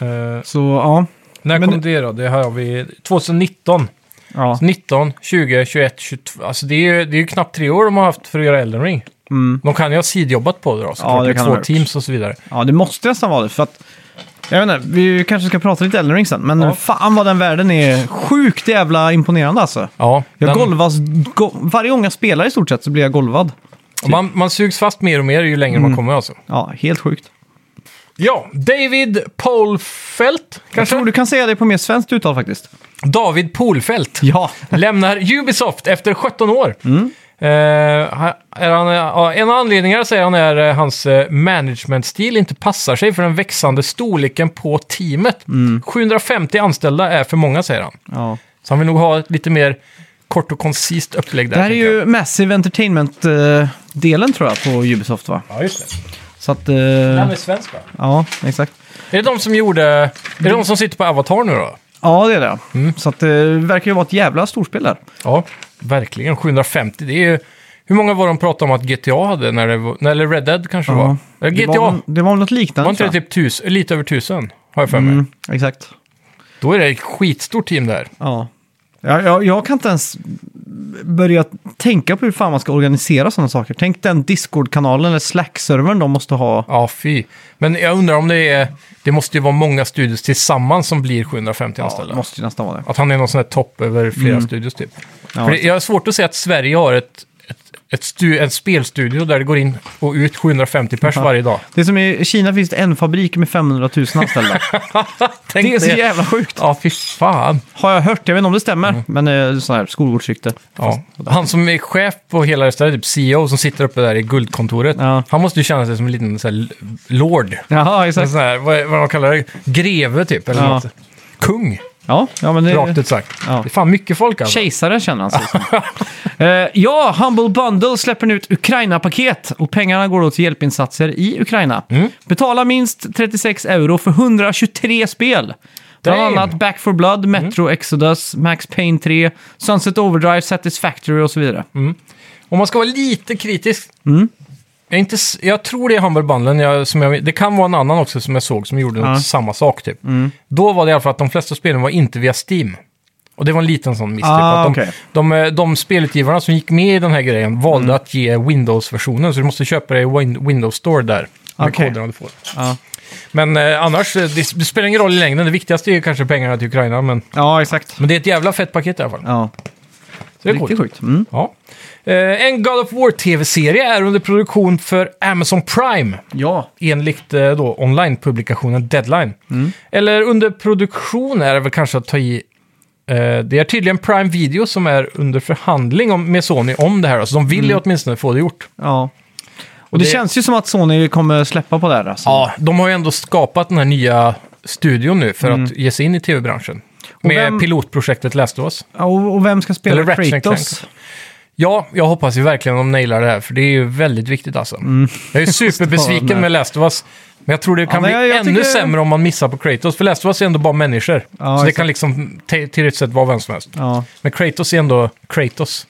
Speaker 3: Eh,
Speaker 2: så ja.
Speaker 3: när
Speaker 2: Men
Speaker 3: kom det då? Det här har vi... 2019.
Speaker 2: ja. 19.
Speaker 3: 19, 20, 21, 22. Alltså det är, ju, det är ju knappt tre år de har haft för att göra Elden Ring.
Speaker 2: Mm.
Speaker 3: De kan ju ha sidjobbat på det då såklart.
Speaker 2: Ja, det
Speaker 3: med
Speaker 2: kan de
Speaker 3: två
Speaker 2: ha gjort.
Speaker 3: teams och så vidare.
Speaker 2: Ja, det måste nästan vara det. För att, jag vet inte, vi kanske ska prata lite Elden Ring sen, men
Speaker 3: Ja.
Speaker 2: fan vad den världen är sjukt jävla imponerande alltså.
Speaker 3: Ja,
Speaker 2: Jag
Speaker 3: den-
Speaker 2: golvas, go, varje gång jag spelar i stort sett så blir jag golvad.
Speaker 3: man, man sugs fast mer och mer ju längre
Speaker 2: Mm.
Speaker 3: man kommer alltså.
Speaker 2: Ja, helt sjukt.
Speaker 3: Ja, David Polfelt
Speaker 2: Jag
Speaker 3: kanske?
Speaker 2: tror du kan säga det på mer svenskt uttal faktiskt.
Speaker 3: David Polfelt.
Speaker 2: Ja. Mm.
Speaker 3: lämnar Ubisoft efter 17 år. Eh, han- är han, ja, en av anledningarna säger han är eh, hans eh, managementstil inte passar sig för den växande storleken på teamet.
Speaker 2: Mm.
Speaker 3: 750 anställda är för många säger han.
Speaker 2: ja.
Speaker 3: Så han vill nog ha ett lite mer kort och koncist upplägg där.
Speaker 2: Det här är
Speaker 3: tänker jag.
Speaker 2: ju Massive Entertainment-delen tror jag på Ubisoft va?
Speaker 3: Ja, just det.
Speaker 2: Så att...
Speaker 3: Han
Speaker 2: Eh,
Speaker 3: är svensk va?
Speaker 2: ja, exakt.
Speaker 3: Är det de som gjorde... Är det de som sitter på Avatar nu då?
Speaker 2: Ja, det är det.
Speaker 3: Mm.
Speaker 2: Så att eh, det verkar ju vara ett jävla storspel där.
Speaker 3: Ja, verkligen. 750, det är ju... Hur många var de pratade om att GTA hade när det var... Eller Red Dead kanske det var?
Speaker 2: Ja.
Speaker 3: Eller
Speaker 2: Det
Speaker 3: GTA.
Speaker 2: var, det var väl något liknande.
Speaker 3: Var inte det
Speaker 2: tror jag.
Speaker 3: typ tus, lite över tusen? Har jag för mig.
Speaker 2: mm, exakt.
Speaker 3: Då är det ett skitstort team där.
Speaker 2: Ja. Jag, jag, jag kan inte ens börja tänka på hur fan man ska organisera sådana saker. Tänk den Discord-kanalen eller Slack-servern de måste ha.
Speaker 3: Ja, fy. Men jag undrar om det är... Det måste ju vara många studios tillsammans som blir 750
Speaker 2: Ja,
Speaker 3: anställda.
Speaker 2: det måste ju nästan vara det.
Speaker 3: Att han är någon sån här topp över flera studios typ.
Speaker 2: Mm. Ja.
Speaker 3: För det, jag har svårt att se att Sverige har ett, ett, ett stu, en spelstudio där det går in och ut 750 pers varje dag.
Speaker 2: Det är som i Kina finns det en fabrik med 500 000 anställda.
Speaker 3: Tänk
Speaker 2: det är så jävla sjukt.
Speaker 3: Ja, fy fan.
Speaker 2: Har jag hört, jag vet inte om det stämmer, men det är sån här skolgårdsrykte.
Speaker 3: Mm. Ja. Han som är chef på hela restaurangen, typ CEO, som sitter uppe där i guldkontoret.
Speaker 2: Ja.
Speaker 3: Han måste ju känna sig som en liten så här, l- lord.
Speaker 2: Jaha,
Speaker 3: En
Speaker 2: exakt.
Speaker 3: sån här, vad, vad de kallar det, greve typ, eller
Speaker 2: Ja.
Speaker 3: något. Kung,
Speaker 2: Ja, ja men
Speaker 3: rakt
Speaker 2: det...
Speaker 3: ut sagt.
Speaker 2: Ja.
Speaker 3: Det är fan mycket folk alltså.
Speaker 2: Kejsare känner han sig som. Eh, ja, Humble Bundle släpper nu ett Ukraina-paket och pengarna går då till hjälpinsatser i Ukraina.
Speaker 3: Mm.
Speaker 2: Betala minst 36 euro för 123 spel. Bland
Speaker 3: Damn. Mm.
Speaker 2: annat Back for Blood, Metro Exodus, Max Payne 3, Sunset Overdrive, Satisfactory och så vidare.
Speaker 3: Mm. Om man ska vara lite kritisk.
Speaker 2: Mm.
Speaker 3: Jag, är inte, s- jag tror det är Humble Bundlen, jag, som jag, det kan vara en annan också som jag såg som gjorde
Speaker 2: Ja. Mm.
Speaker 3: samma sak typ. Då var det i alla fall att de flesta spelen var inte via Steam. Och det var en liten sån miss. typ,
Speaker 2: Ah,
Speaker 3: att de,
Speaker 2: okej.
Speaker 3: de, eh, de spelutgivarna som gick med i den här grejen valde att ge Windows-versionen, så du måste köpa det i Win- Windows Store där. Med
Speaker 2: Okej.
Speaker 3: koderna du får.
Speaker 2: Ja.
Speaker 3: Men eh, annars, eh, det, det spelar ingen roll i längden. Det viktigaste är ju kanske pengarna till Ukraina, men,
Speaker 2: Ja, exakt.
Speaker 3: men det är ett jävla fett paket i alla fall.
Speaker 2: Ja,
Speaker 3: Så det är
Speaker 2: riktigt
Speaker 3: coolt.
Speaker 2: sjukt. Mm.
Speaker 3: Ja. Eh, en God of War-tv-serie är under produktion för Amazon Prime,
Speaker 2: Ja.
Speaker 3: enligt eh, då online-publikationen Deadline. Eller under produktion är det väl kanske att ta i... Eh, det är tydligen Prime Video som är under förhandling om, med Sony om det här. Alltså de vill ju åtminstone få det gjort.
Speaker 2: ja. Och det,
Speaker 3: det-
Speaker 2: känns ju som att Sony kommer släppa på det här. Alltså.
Speaker 3: Ja, de har ju ändå skapat den här nya studion nu för att ge sig in i tv-branschen. Med
Speaker 2: vem-
Speaker 3: pilotprojektet Last of Us.
Speaker 2: Och, och vem ska spela
Speaker 3: Eller Ratchet and
Speaker 2: Kratos?
Speaker 3: Ja, jag hoppas ju verkligen de nailar det här, för det är ju väldigt viktigt alltså.
Speaker 2: Mm.
Speaker 3: Jag är
Speaker 2: Måste vara
Speaker 3: superbesviken
Speaker 2: med.
Speaker 3: med Last of Us, men jag tror det kan
Speaker 2: men
Speaker 3: bli
Speaker 2: jag- jag
Speaker 3: ännu
Speaker 2: tycker-
Speaker 3: sämre om man missar på Kratos, för Last of Us är ändå bara människor.
Speaker 2: Ja,
Speaker 3: så det
Speaker 2: exakt.
Speaker 3: kan liksom te- teoretiskt sett vara vem som helst.
Speaker 2: Ja.
Speaker 3: Men Kratos är ändå Kratos.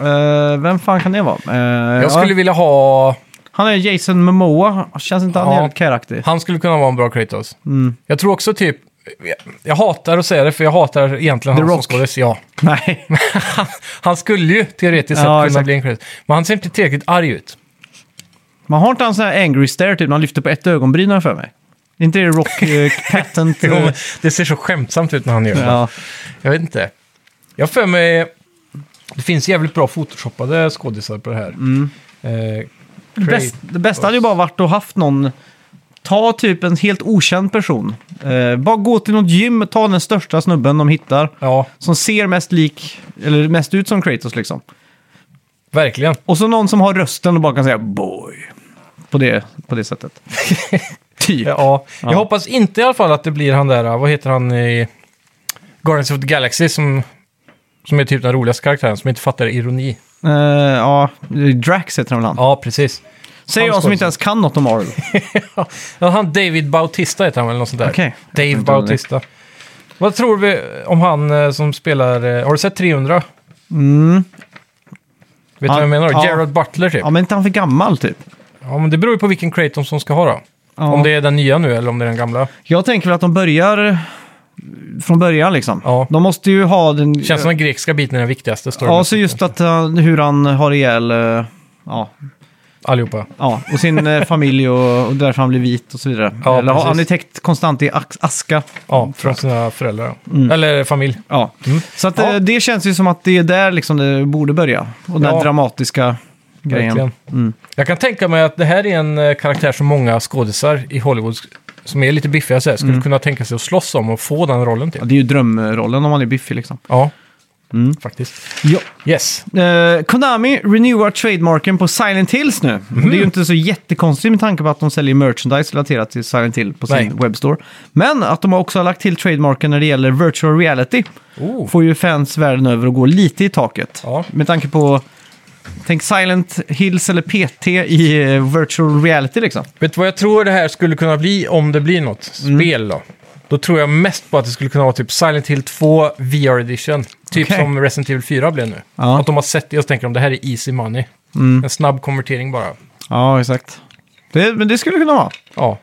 Speaker 2: Eh, vem fan kan det vara? Eh,
Speaker 3: Jag
Speaker 2: ja.
Speaker 3: skulle vilja ha...
Speaker 2: Han är Jason Momoa. Känns inte han
Speaker 3: Ja.
Speaker 2: jävligt karaktig?
Speaker 3: Han skulle kunna vara en bra Kratos.
Speaker 2: Mm.
Speaker 3: Jag tror också typ... jag- Jag hatar att säga det, för jag hatar egentligen
Speaker 2: The
Speaker 3: han som
Speaker 2: Rock.
Speaker 3: skådis. Ja.
Speaker 2: Nej.
Speaker 3: han, han skulle ju teoretiskt sett
Speaker 2: Ja,
Speaker 3: kunna
Speaker 2: exakt.
Speaker 3: bli en Kratos. Men han ser inte tillräckligt arg ut.
Speaker 2: Man har inte han sån här angry stare typ när han lyfter på ett ögonbryn har jag för mig? Är inte det Rock eh, Patent? eh,
Speaker 3: Jo, men Det ser så skämtsamt ut när han gör det.
Speaker 2: ja.
Speaker 3: Jag vet inte. Jag har för mig... Det finns jävligt bra photoshoppade skådisar på det här.
Speaker 2: Mm.
Speaker 3: Eh,
Speaker 2: Bäst, det bästa hade ju bara varit att haft någon, ta typ en helt okänd person. Eh, bara gå till något gym, ta den största snubben de hittar.
Speaker 3: ja,
Speaker 2: Som ser mest lik, eller mest ut som Kratos liksom.
Speaker 3: verkligen.
Speaker 2: Och så någon som har rösten och bara kan säga boy. På det, på det sättet. typ.
Speaker 3: Ja, jag
Speaker 2: Ja.
Speaker 3: hoppas inte i alla fall att det blir han där, vad heter han i Guardians of the Galaxy som, som är typ den roligaste karaktären, som inte fattar ironi.
Speaker 2: Eh, ja, Drax heter han väl han.
Speaker 3: Ja, precis.
Speaker 2: Säger
Speaker 3: han
Speaker 2: jag som
Speaker 3: ska
Speaker 2: inte ens kan något om Marvel.
Speaker 3: Ja, han David Bautista heter han väl, något sånt där.
Speaker 2: Okej.
Speaker 3: Dave
Speaker 2: inte om det.
Speaker 3: Bautista. Vad tror vi om han eh, som spelar, eh, har du sett 300? Vet du vad jag
Speaker 2: Mm. Han- ja.
Speaker 3: menar? Gerard Butler typ.
Speaker 2: Ja, men inte han för gammal typ.
Speaker 3: Ja, men det beror ju på vilken Kratos som ska ha då.
Speaker 2: Ja.
Speaker 3: Om det är den nya nu eller om det är den gamla.
Speaker 2: Jag tänker väl att de börjar eh, från början liksom.
Speaker 3: Ja.
Speaker 2: De måste ju ha den...
Speaker 3: Känns som den grekiska biten är den viktigaste storyn.
Speaker 2: Ja, så just att han, hur han har ihjäl... eh, Ja,
Speaker 3: Allihopa.
Speaker 2: ja, och sin eh, familj och, och därför han blir vit och så vidare.
Speaker 3: Ja,
Speaker 2: Eller, har-
Speaker 3: precis.
Speaker 2: han är täckt konstant i ax- aska.
Speaker 3: Ja, från sina föräldrar.
Speaker 2: Mm.
Speaker 3: Eller familj.
Speaker 2: Ja. Så att, eh,
Speaker 3: Ja.
Speaker 2: det känns ju som att det är där liksom det borde börja. Och den
Speaker 3: Ja.
Speaker 2: dramatiska grejen. Mm.
Speaker 3: Verkligen. Jag kan tänka mig att det här är en eh, karaktär som många skådisar i Hollywood, sk- som är lite biffiga så här,
Speaker 2: Mm.
Speaker 3: skulle kunna tänka sig att slåss om och få den rollen
Speaker 2: Ja,
Speaker 3: till.
Speaker 2: det är ju drömrollen om man är biffig liksom.
Speaker 3: Ja,
Speaker 2: Mm.
Speaker 3: faktiskt.
Speaker 2: Ja.
Speaker 3: Yes.
Speaker 2: Eh, Konami renewar trademarken på Silent Hills nu.
Speaker 3: Mm.
Speaker 2: Det är ju inte så jättekonstigt med tanke på att de säljer merchandise relaterat till Silent Hill på sin
Speaker 3: Nej.
Speaker 2: webbstore. Men att de också har lagt till trademarken när det gäller virtual reality
Speaker 3: Oh.
Speaker 2: får ju fans världen över att gå lite i taket.
Speaker 3: Ja.
Speaker 2: Med tanke på, tänk Silent Hills eller PT i eh, virtual reality liksom.
Speaker 3: Vet du vad jag tror det här skulle kunna bli om det blir något
Speaker 2: Mm.
Speaker 3: spel då? Då tror jag mest på att det skulle kunna vara typ Silent Hill 2 VR Edition. Typ
Speaker 2: Okej.
Speaker 3: som Resident Evil 4 blev nu.
Speaker 2: Ja. Mm.
Speaker 3: Att de har sett det och så tänker de det här är easy money. En snabb konvertering bara.
Speaker 2: Ja, exakt. Det, men det skulle kunna vara.
Speaker 3: Ja.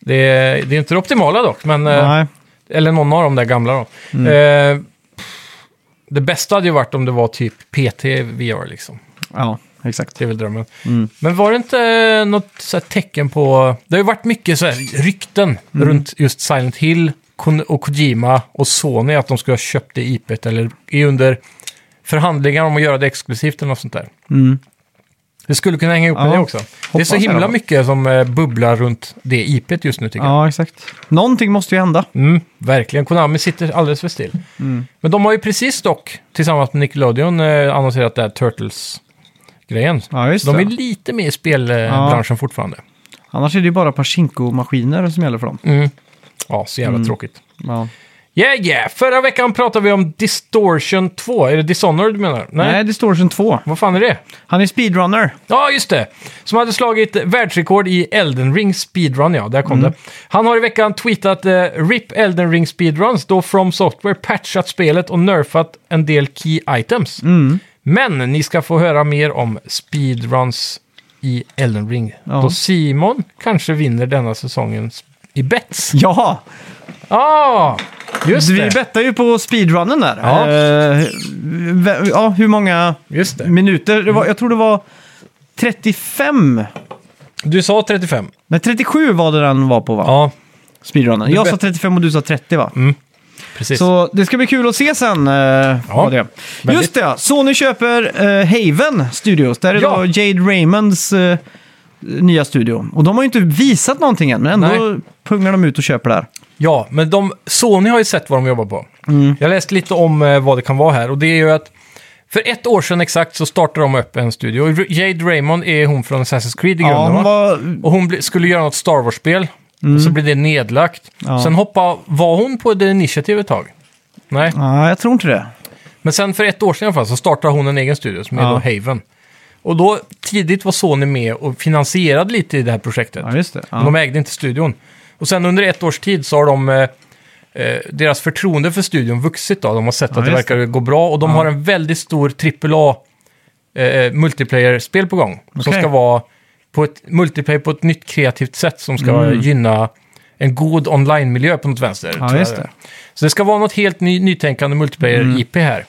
Speaker 3: Det är, det är inte det optimala dock, men... eh,
Speaker 2: Nej. Mm.
Speaker 3: Eller någon av de där gamla då. Eh, det bästa hade ju varit om det var typ PT VR liksom.
Speaker 2: Ja, exakt.
Speaker 3: Det är väl drömmen.
Speaker 2: Mm.
Speaker 3: Men var det inte eh, något så här tecken på... Det har ju varit mycket så här rykten
Speaker 2: Mm.
Speaker 3: runt just Silent Hill Kon- och Kojima och Sony att de skulle ha köpt det IPet eller är under förhandlingar om att göra det exklusivt eller något sånt där. Det skulle kunna hänga ihop med
Speaker 2: Ja,
Speaker 3: det också. Det är
Speaker 2: hoppas
Speaker 3: så
Speaker 2: jag
Speaker 3: himla
Speaker 2: då.
Speaker 3: mycket som eh, bubblar runt det IPet just nu tycker jag.
Speaker 2: Ja, exakt. Någonting måste ju hända.
Speaker 3: Mm, verkligen. Konami sitter alldeles för still.
Speaker 2: Mm.
Speaker 3: Men de har ju precis dock, tillsammans med Nickelodeon, eh, annonserat det här Turtles-grejen.
Speaker 2: Ja, just
Speaker 3: de
Speaker 2: det.
Speaker 3: är lite med i spelbranschen fortfarande.
Speaker 2: Annars är det ju bara Pachinko-maskiner som gäller för dem.
Speaker 3: Mm. Ja, så jävla tråkigt.
Speaker 2: Ja.
Speaker 3: Yeah, yeah! Förra veckan pratade vi om Distortion 2. Är det Dishonored du menar?
Speaker 2: Nej. Distortion 2.
Speaker 3: Vad fan är det?
Speaker 2: Han är speedrunner.
Speaker 3: Ja, just det. Som hade slagit världsrekord i Elden Ring speedrun, ja. Där kom det. Han har i veckan tweetat eh, RIP Elden Ring speedruns då From Software patchat spelet och nerfat en del key items. Men ni ska få höra mer om speedruns i Elden Ring.
Speaker 2: Ja.
Speaker 3: Då Simon kanske vinner denna säsongen i bets.
Speaker 2: Ja,
Speaker 3: Ja, ah, just
Speaker 2: vi
Speaker 3: det.
Speaker 2: bettar ju på speedrunnen där.
Speaker 3: Ja.
Speaker 2: Eh, vä- ja, hur många
Speaker 3: Just det. Mm.
Speaker 2: minuter? Det var, jag tror det var 35.
Speaker 3: Du sa 35.
Speaker 2: Nej, 37 var det den var på va?
Speaker 3: Ja,
Speaker 2: Speedrunnen.
Speaker 3: Du
Speaker 2: Jag sa
Speaker 3: bet-
Speaker 2: 35 och du sa 30 va?
Speaker 3: precis.
Speaker 2: Så det ska bli kul att se sen. eh, vad det. är.
Speaker 3: väldigt.
Speaker 2: Just det, ja. Sony köper eh, Haven Studios. Där är
Speaker 3: Ja.
Speaker 2: då Jade Raymonds eh, nya studio. Och de har ju inte visat någonting än, men ändå pungar de ut och köper där.
Speaker 3: Ja, men de, Sony har ju sett vad de jobbar på.
Speaker 2: Mm.
Speaker 3: Jag läste lite om eh, vad det kan vara här och det är ju att för ett år sedan exakt så startade de upp en studio. Och Jade Raymond är hon från Assassin's Creed i grunden
Speaker 2: Ja,
Speaker 3: va?
Speaker 2: hon var Mm.
Speaker 3: Och hon bli- skulle göra något Star Wars-spel. Och så blev det nedlagt.
Speaker 2: Ja.
Speaker 3: Sen hoppa, var hon på The Initiative ett tag? Nej.
Speaker 2: Nej, jag tror inte det.
Speaker 3: Men sen för ett år sedan i alla fall så startade hon en egen studio som är
Speaker 2: Ja.
Speaker 3: då Haven. Och då tidigt var Sony med och finansierade lite i det här projektet.
Speaker 2: Ja, just det. Ja.
Speaker 3: Men de ägde inte studion. Och sen under ett års tid så har de... Eh, eh, deras förtroende för studion vuxit då. De har sett
Speaker 2: Ja,
Speaker 3: att det
Speaker 2: just
Speaker 3: verkar gå bra och de har en väldigt stor AAA eh, multiplayer-spel på gång. Som
Speaker 2: Okej.
Speaker 3: ska vara på ett multiplayer på ett nytt kreativt sätt som ska
Speaker 2: Mm.
Speaker 3: gynna en god online-miljö på något vänster. tror
Speaker 2: Ja,
Speaker 3: jag
Speaker 2: just
Speaker 3: det är.
Speaker 2: det.
Speaker 3: Så det ska vara något helt ny, nytänkande multiplayer-IP här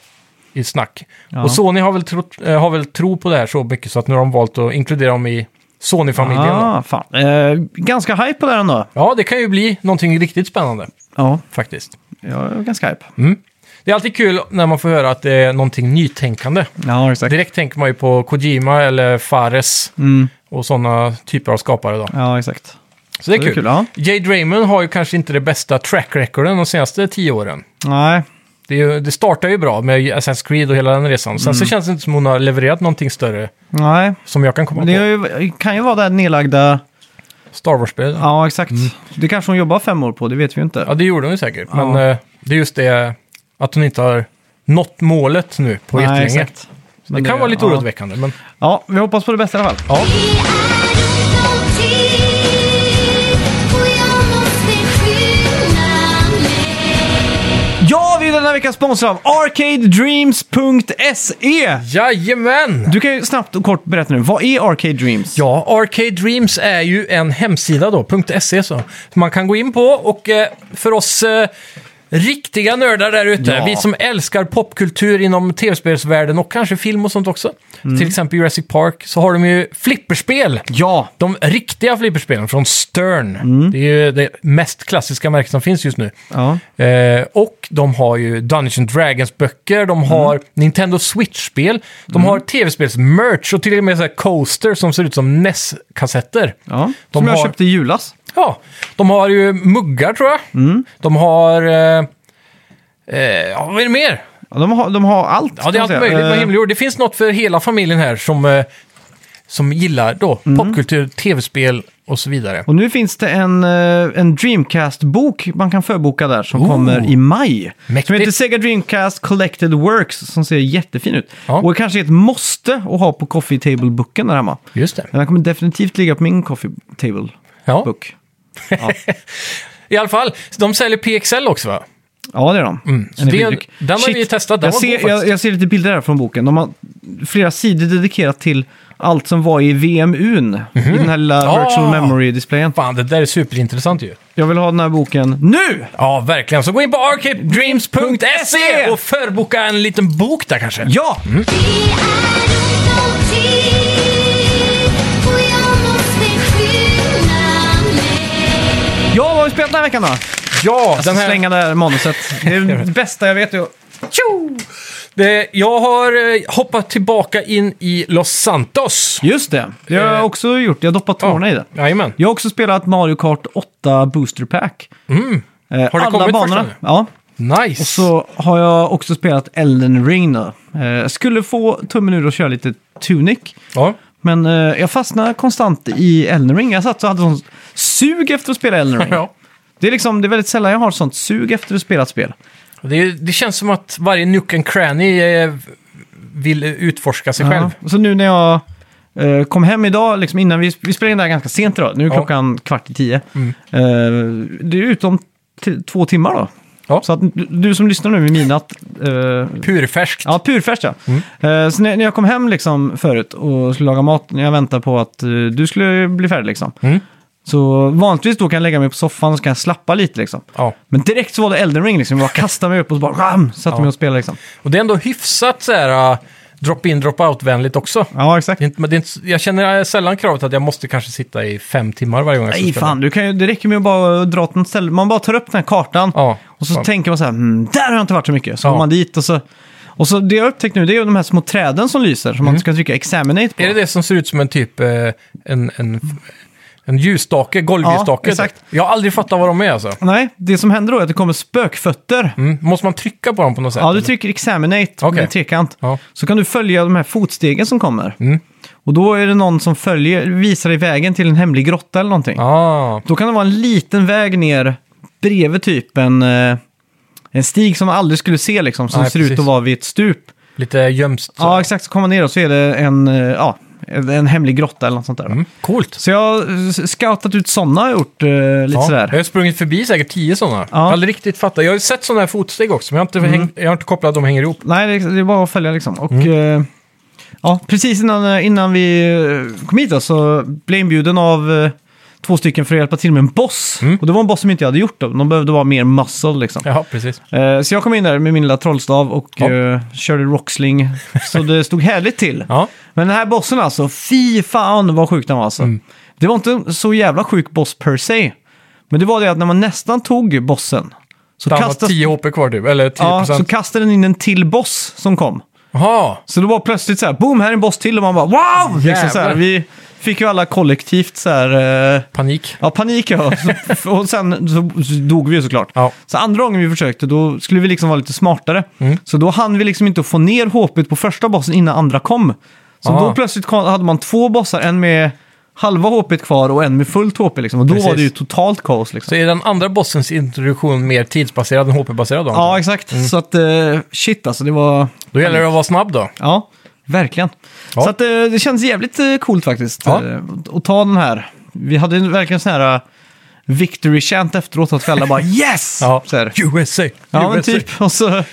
Speaker 3: i snack.
Speaker 2: Mm. Ja.
Speaker 3: Och Sony har väl, trott, eh, har väl tro på det här så mycket så att nu har de valt att inkludera dem i Sony-familjen. då.
Speaker 2: Ah, fan. Eh, ganska hype på det här ändå.
Speaker 3: Ja, det kan ju bli någonting riktigt spännande
Speaker 2: Ja,
Speaker 3: faktiskt.
Speaker 2: jag är ganska hype.
Speaker 3: Mm. Det är alltid kul när man får höra att det är någonting nytänkande.
Speaker 2: Ja, exakt.
Speaker 3: Direkt tänker man ju på Kojima eller Fares
Speaker 2: Mm.
Speaker 3: och sådana typer av skapare. Då.
Speaker 2: Ja, exakt.
Speaker 3: Så det är
Speaker 2: Det
Speaker 3: kul.
Speaker 2: är kul, ja.
Speaker 3: Jade Raymond har ju kanske inte det bästa track recorden de senaste tio åren.
Speaker 2: Nej,
Speaker 3: Det, är ju, det startar ju bra med Assassin's Creed och hela den resan. Sen
Speaker 2: Mm.
Speaker 3: så känns det inte som hon har levererat någonting större
Speaker 2: nej.
Speaker 3: som jag kan komma
Speaker 2: Men det
Speaker 3: på.
Speaker 2: är ju, kan ju vara det här nedlagda...
Speaker 3: Star Wars-spel. Ja.
Speaker 2: Ja, exakt. Det kanske hon jobbar fem år på, det vet vi ju inte.
Speaker 3: Mm. det gjorde hon ju säkert.
Speaker 2: Ja.
Speaker 3: Men eh, det är just det att hon inte har nått målet nu på
Speaker 2: Nej,
Speaker 3: jättelänge.
Speaker 2: exakt.
Speaker 3: Det
Speaker 2: Men
Speaker 3: kan vara lite
Speaker 2: ja.
Speaker 3: oroväckande. Men
Speaker 2: Ja, vi hoppas på det bästa i alla fall.
Speaker 3: ja,
Speaker 1: och jag måste skynda mig
Speaker 2: Ja, vi är denna vecka sponsrade av arcadedreams.se!
Speaker 3: jajamän!
Speaker 2: Du kan ju snabbt och kort berätta nu, vad är Arcade Dreams?
Speaker 3: Ja, Arcade Dreams är ju en hemsida då, .se så. som Man kan gå in på och eh, för oss eh, riktiga nördar där ute,
Speaker 2: Ja.
Speaker 3: vi som älskar popkultur inom tv-spelsvärlden och kanske film och sånt också, till exempel Jurassic Park, så har de ju flipperspel.
Speaker 2: Mm. Ja, Mm.
Speaker 3: De riktiga flipperspelen från Stern. Det är ju det mest klassiska märket som finns just nu.
Speaker 2: ja.
Speaker 3: Eh, och de har ju Dungeons and Dragons-böcker,
Speaker 2: Mm.
Speaker 3: de har Nintendo Switch-spel, de har tv-spels-merch och till och med så här coaster som ser ut som NES-kassetter.
Speaker 2: ja.
Speaker 3: De
Speaker 2: Som jag
Speaker 3: har-
Speaker 2: köpte i julas.
Speaker 3: Ja, de har ju muggar tror jag.
Speaker 2: Mm.
Speaker 3: De har... Eh, eh, ja, vad är det mer?
Speaker 2: Ja, de, har, de har allt.
Speaker 3: Ja, det är
Speaker 2: kan man
Speaker 3: allt
Speaker 2: säga.
Speaker 3: möjligt med
Speaker 2: Eh,
Speaker 3: himmel och jord. Det finns något för hela familjen här som, eh, som gillar då
Speaker 2: Mm.
Speaker 3: popkultur, tv-spel och så vidare.
Speaker 2: Och nu finins det en, eh, en Dreamcast-bok man kan förboka där som kommer i maj. Som
Speaker 3: Oh. Mäktigt.
Speaker 2: heter Sega Dreamcast Collected Works som ser jättefin ut.
Speaker 3: Ja.
Speaker 2: Och kanske är ett måste att ha på Coffee Table-boken där hemma.
Speaker 3: Just det.
Speaker 2: Men den kommer definitivt ligga på min Coffee Table-bok.
Speaker 3: Ja. I alla fall, de säljer PXL också va?
Speaker 2: Ja, det är de.
Speaker 3: så Mm. det- den har vi testat. Den
Speaker 2: jag,
Speaker 3: var god
Speaker 2: ser, jag,
Speaker 3: faktiskt.
Speaker 2: jag ser lite bilder här från boken. De har flera sidor dedikerat till allt som var i VMUn. I den här lilla
Speaker 3: Ah.
Speaker 2: Virtual Memory-displayen.
Speaker 3: Fan, det där är superintressant ju.
Speaker 2: Jag vill ha den här boken nu!
Speaker 3: Ja, verkligen. Så gå in på arcadedreams.se och förboka en liten bok där kanske.
Speaker 2: Ja!
Speaker 3: Mm.
Speaker 1: Det är ont om tid och jag måste skynda mig
Speaker 2: Ja, vad har vi spelat den här veckan då?
Speaker 3: ja alltså
Speaker 2: Den här... Alltså, Slänga det här manuset. Det är det bästa jag vet. ju.
Speaker 3: Tjo! Det, jag har eh, hoppat tillbaka in i Los Santos.
Speaker 2: Just det. Det har jag
Speaker 3: Eh.
Speaker 2: också gjort. Jag har doppat tårna i det.
Speaker 3: Jajamän.
Speaker 2: Jag har också spelat Mario Kart 8 Booster Pack. Eh,
Speaker 3: Mm. Har det
Speaker 2: alla
Speaker 3: kommit
Speaker 2: banorna.
Speaker 3: första nu?
Speaker 2: Ja.
Speaker 3: Nice.
Speaker 2: Så har jag också spelat Elden Ring nu. Eh, skulle få tummen ur och köra lite Tunic.
Speaker 3: Ja.
Speaker 2: Men eh, jag fastnar konstant i Elden Ring. Jag satt och hade sån sug efter att spela Elden Ring.
Speaker 3: Ja.
Speaker 2: Det är, liksom, det är väldigt sällan jag har sånt sug efter att spela ett spel.
Speaker 3: Det, det känns som att varje nuck and cranny eh, vill utforska sig själv.
Speaker 2: Ja. Så nu när jag eh, kom hem idag, liksom innan vi, vi spelade in det här ganska sent idag. Nu är
Speaker 3: Ja. Mm.
Speaker 2: klockan kvart i tio. Eh, det är utom t- två timmar då.
Speaker 3: Ja.
Speaker 2: Så att du, du som lyssnar nu med mina... eh,
Speaker 3: Purfärskt.
Speaker 2: Ja, purfärskt ja.
Speaker 3: Mm.
Speaker 2: Eh, så när, när jag kom hem liksom förut och skulle laga mat, när jag väntade på att eh, du skulle bli färdig liksom.
Speaker 3: Mm.
Speaker 2: Så vanligtvis då kan jag lägga mig på soffan och så kan jag slappa lite liksom.
Speaker 3: Ja.
Speaker 2: Men direkt så var det Elden Ring liksom. Jag bara kastade mig upp och så bara ram, satte
Speaker 3: Ja.
Speaker 2: mig och spelade liksom.
Speaker 3: Och det är ändå hyfsat så här eh, drop-in, drop-out-vänligt också.
Speaker 2: Ja, exakt.
Speaker 3: Det är inte, men det är inte, s- jag känner eh, sällan kravet att jag måste kanske sitta i fem timmar varje gång jag ska
Speaker 2: Nej,
Speaker 3: spela.
Speaker 2: fan. Du kan ju, det räcker med att bara dra åt en ställe. Man bara tar upp den här kartan
Speaker 3: Ja,
Speaker 2: och så
Speaker 3: fan.
Speaker 2: tänker man så här, "Mm, där har jag inte varit så mycket. Så
Speaker 3: Ja.
Speaker 2: går man dit och så... Och så det jag har upptäckt nu det är ju de här små träden som lyser som man ska trycka examinate på.
Speaker 3: Mm. Är det det som ser ut som en typ eh, en, en, en ljusstake, golvljusstake?
Speaker 2: Ja, exakt.
Speaker 3: Jag har aldrig fattat vad de är alltså.
Speaker 2: Nej, det som händer då är att det kommer spökfötter.
Speaker 3: Mm. Måste man trycka på dem på något sätt?
Speaker 2: Ja, du
Speaker 3: eller?
Speaker 2: trycker examinate
Speaker 3: Okej.
Speaker 2: med en trekant.
Speaker 3: Ja.
Speaker 2: Så kan du följa de här fotstegen som kommer.
Speaker 3: Mm.
Speaker 2: Och då är det någon som följer, visar dig vägen till en hemlig grotta eller någonting.
Speaker 3: Ah,
Speaker 2: Då kan det vara en liten väg ner bredvid typ en, eh, en stig som man aldrig skulle se liksom, som
Speaker 3: Nej,
Speaker 2: ser ut
Speaker 3: precis.
Speaker 2: att vara vid ett stup.
Speaker 3: lite gömst. så.
Speaker 2: Ja, exakt. Så kommer man ner och så är det en, eh, ja, en hemlig grotta eller något sånt där. va?
Speaker 3: Mm. Coolt.
Speaker 2: Så jag har eh, scoutat ut sådana och gjort eh, lite
Speaker 3: Ja. Jag
Speaker 2: sådär.
Speaker 3: har sprungit förbi säkert tio sådana. Jag har aldrig riktigt fattat. Jag har ju sett
Speaker 2: Mm.
Speaker 3: sådana här fotsteg också, men jag har inte, häng, jag har inte kopplat att de hänger ihop. Mm.
Speaker 2: Nej, det, det är bara att följa liksom. Och, eh, ja, precis innan, innan vi eh, kom hit då, så blev jag inbjuden av eh, två stycken för att hjälpa till med en boss.
Speaker 3: Mm.
Speaker 2: Och det var en boss som inte jag hade gjort då. De behövde vara mer muscle liksom.
Speaker 3: Ja, precis.
Speaker 2: Eh, Så jag kom in där med min lilla trollstav och
Speaker 3: Ja.
Speaker 2: eh, körde rocksling. Så det stod härligt till.
Speaker 3: Ja,
Speaker 2: Men den här bossen alltså, fy fan vad sjuk den var
Speaker 3: Mm.
Speaker 2: alltså. Det var inte så jävla sjuk boss per se. Men det var det att när man nästan tog bossen så,
Speaker 3: det var
Speaker 2: kastade,
Speaker 3: 10 HP kvar typ, eller 10
Speaker 2: ja, så
Speaker 3: procent.
Speaker 2: kastade den in en till boss som kom.
Speaker 3: Jaha,
Speaker 2: Så då var plötsligt så här, boom, här är en boss till och man bara wow! Liksom så här,
Speaker 3: Jävlar.
Speaker 2: vi fick ju alla kollektivt så här, eh,
Speaker 3: panik.
Speaker 2: ja panik ja. Så- och sen så så dog vi ju såklart.
Speaker 3: Ja.
Speaker 2: Så andra gången vi försökte då skulle vi liksom vara lite smartare.
Speaker 3: Mm.
Speaker 2: Så då hann vi liksom inte få ner HP på första bossen innan andra kom. Så
Speaker 3: Ah.
Speaker 2: då plötsligt kom, hade man två bossar, en med halva HP kvar och en med fullt HP liksom. Och då
Speaker 3: Precis.
Speaker 2: var det ju totalt kaos liksom.
Speaker 3: Så är den andra bossens introduktion mer tidsbaserad än HP-baserad då?
Speaker 2: Ja, exakt.
Speaker 3: Mm.
Speaker 2: Så att eh, shit alltså, det var...
Speaker 3: Då gäller det att vara snabb då.
Speaker 2: Ja, verkligen.
Speaker 3: Ja.
Speaker 2: Så att, eh, det känns jävligt eh, coolt faktiskt.
Speaker 3: Ja.
Speaker 2: eh, Att ta den här. Vi hade ju verkligen sån här eh, victory chant efteråt. Att vi alla bara yes!
Speaker 3: Ja.
Speaker 2: Så här.
Speaker 3: USA!
Speaker 2: ja men
Speaker 3: USA.
Speaker 2: typ. Och så,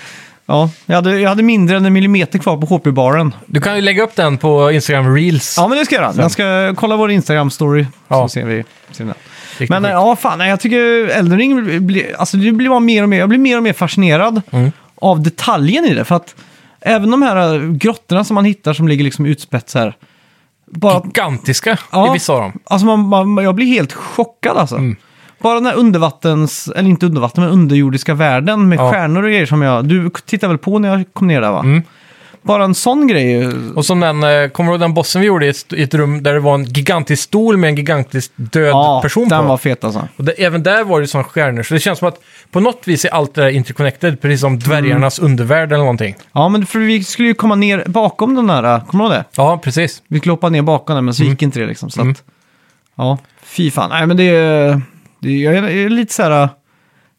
Speaker 2: ja, jag, hade, jag hade mindre än en millimeter kvar på HP-baren.
Speaker 3: Du kan ju lägga upp den på Instagram Reels.
Speaker 2: Ja, men det ska jag göra. Jag ska kolla vår Instagram-story.
Speaker 3: Ja.
Speaker 2: Så ser vi. Ser vi den.
Speaker 3: Riktigt
Speaker 2: Men eh,
Speaker 3: sjukt.
Speaker 2: ja, fan, nej, jag tycker Eldring blir, alltså det blir bara mer och mer, jag blir mer och mer fascinerad
Speaker 3: Mm.
Speaker 2: av detaljen i det. För att även de här eh, grottorna som man hittar som ligger liksom utspätt så här. Bara att,
Speaker 3: Gigantiska
Speaker 2: Ja.
Speaker 3: i vissa av dem.
Speaker 2: alltså man, man, jag blir helt chockad alltså.
Speaker 3: Mm.
Speaker 2: Bara den här undervattens, eller inte undervatten, men underjordiska världen med
Speaker 3: Ja. Mm.
Speaker 2: stjärnor och grejer som jag, du tittar väl på när jag kom ner där va? Bara en sån grej. eh,
Speaker 3: Och som den, eh, kommer du ihåg den bossen vi gjorde i ett, i ett rum där det var en gigantisk stol med en gigantisk död
Speaker 2: Ja,
Speaker 3: person
Speaker 2: den
Speaker 3: på?
Speaker 2: var fet alltså.
Speaker 3: Och det, även där var det som stjärnor, så det känns som att på något vis är allt det där interconnected, precis som dvärgarnas
Speaker 2: Mm.
Speaker 3: undervärld eller någonting.
Speaker 2: Ja, men för vi skulle ju komma ner bakom den där, kommer du ihåg det?
Speaker 3: Ja, precis.
Speaker 2: Vi skulle hoppa ner bakom den, men
Speaker 3: Mm.
Speaker 2: så gick inte det liksom. Så att, ja, fy fan. Nej, men det är, det är... Jag är lite så här... äh,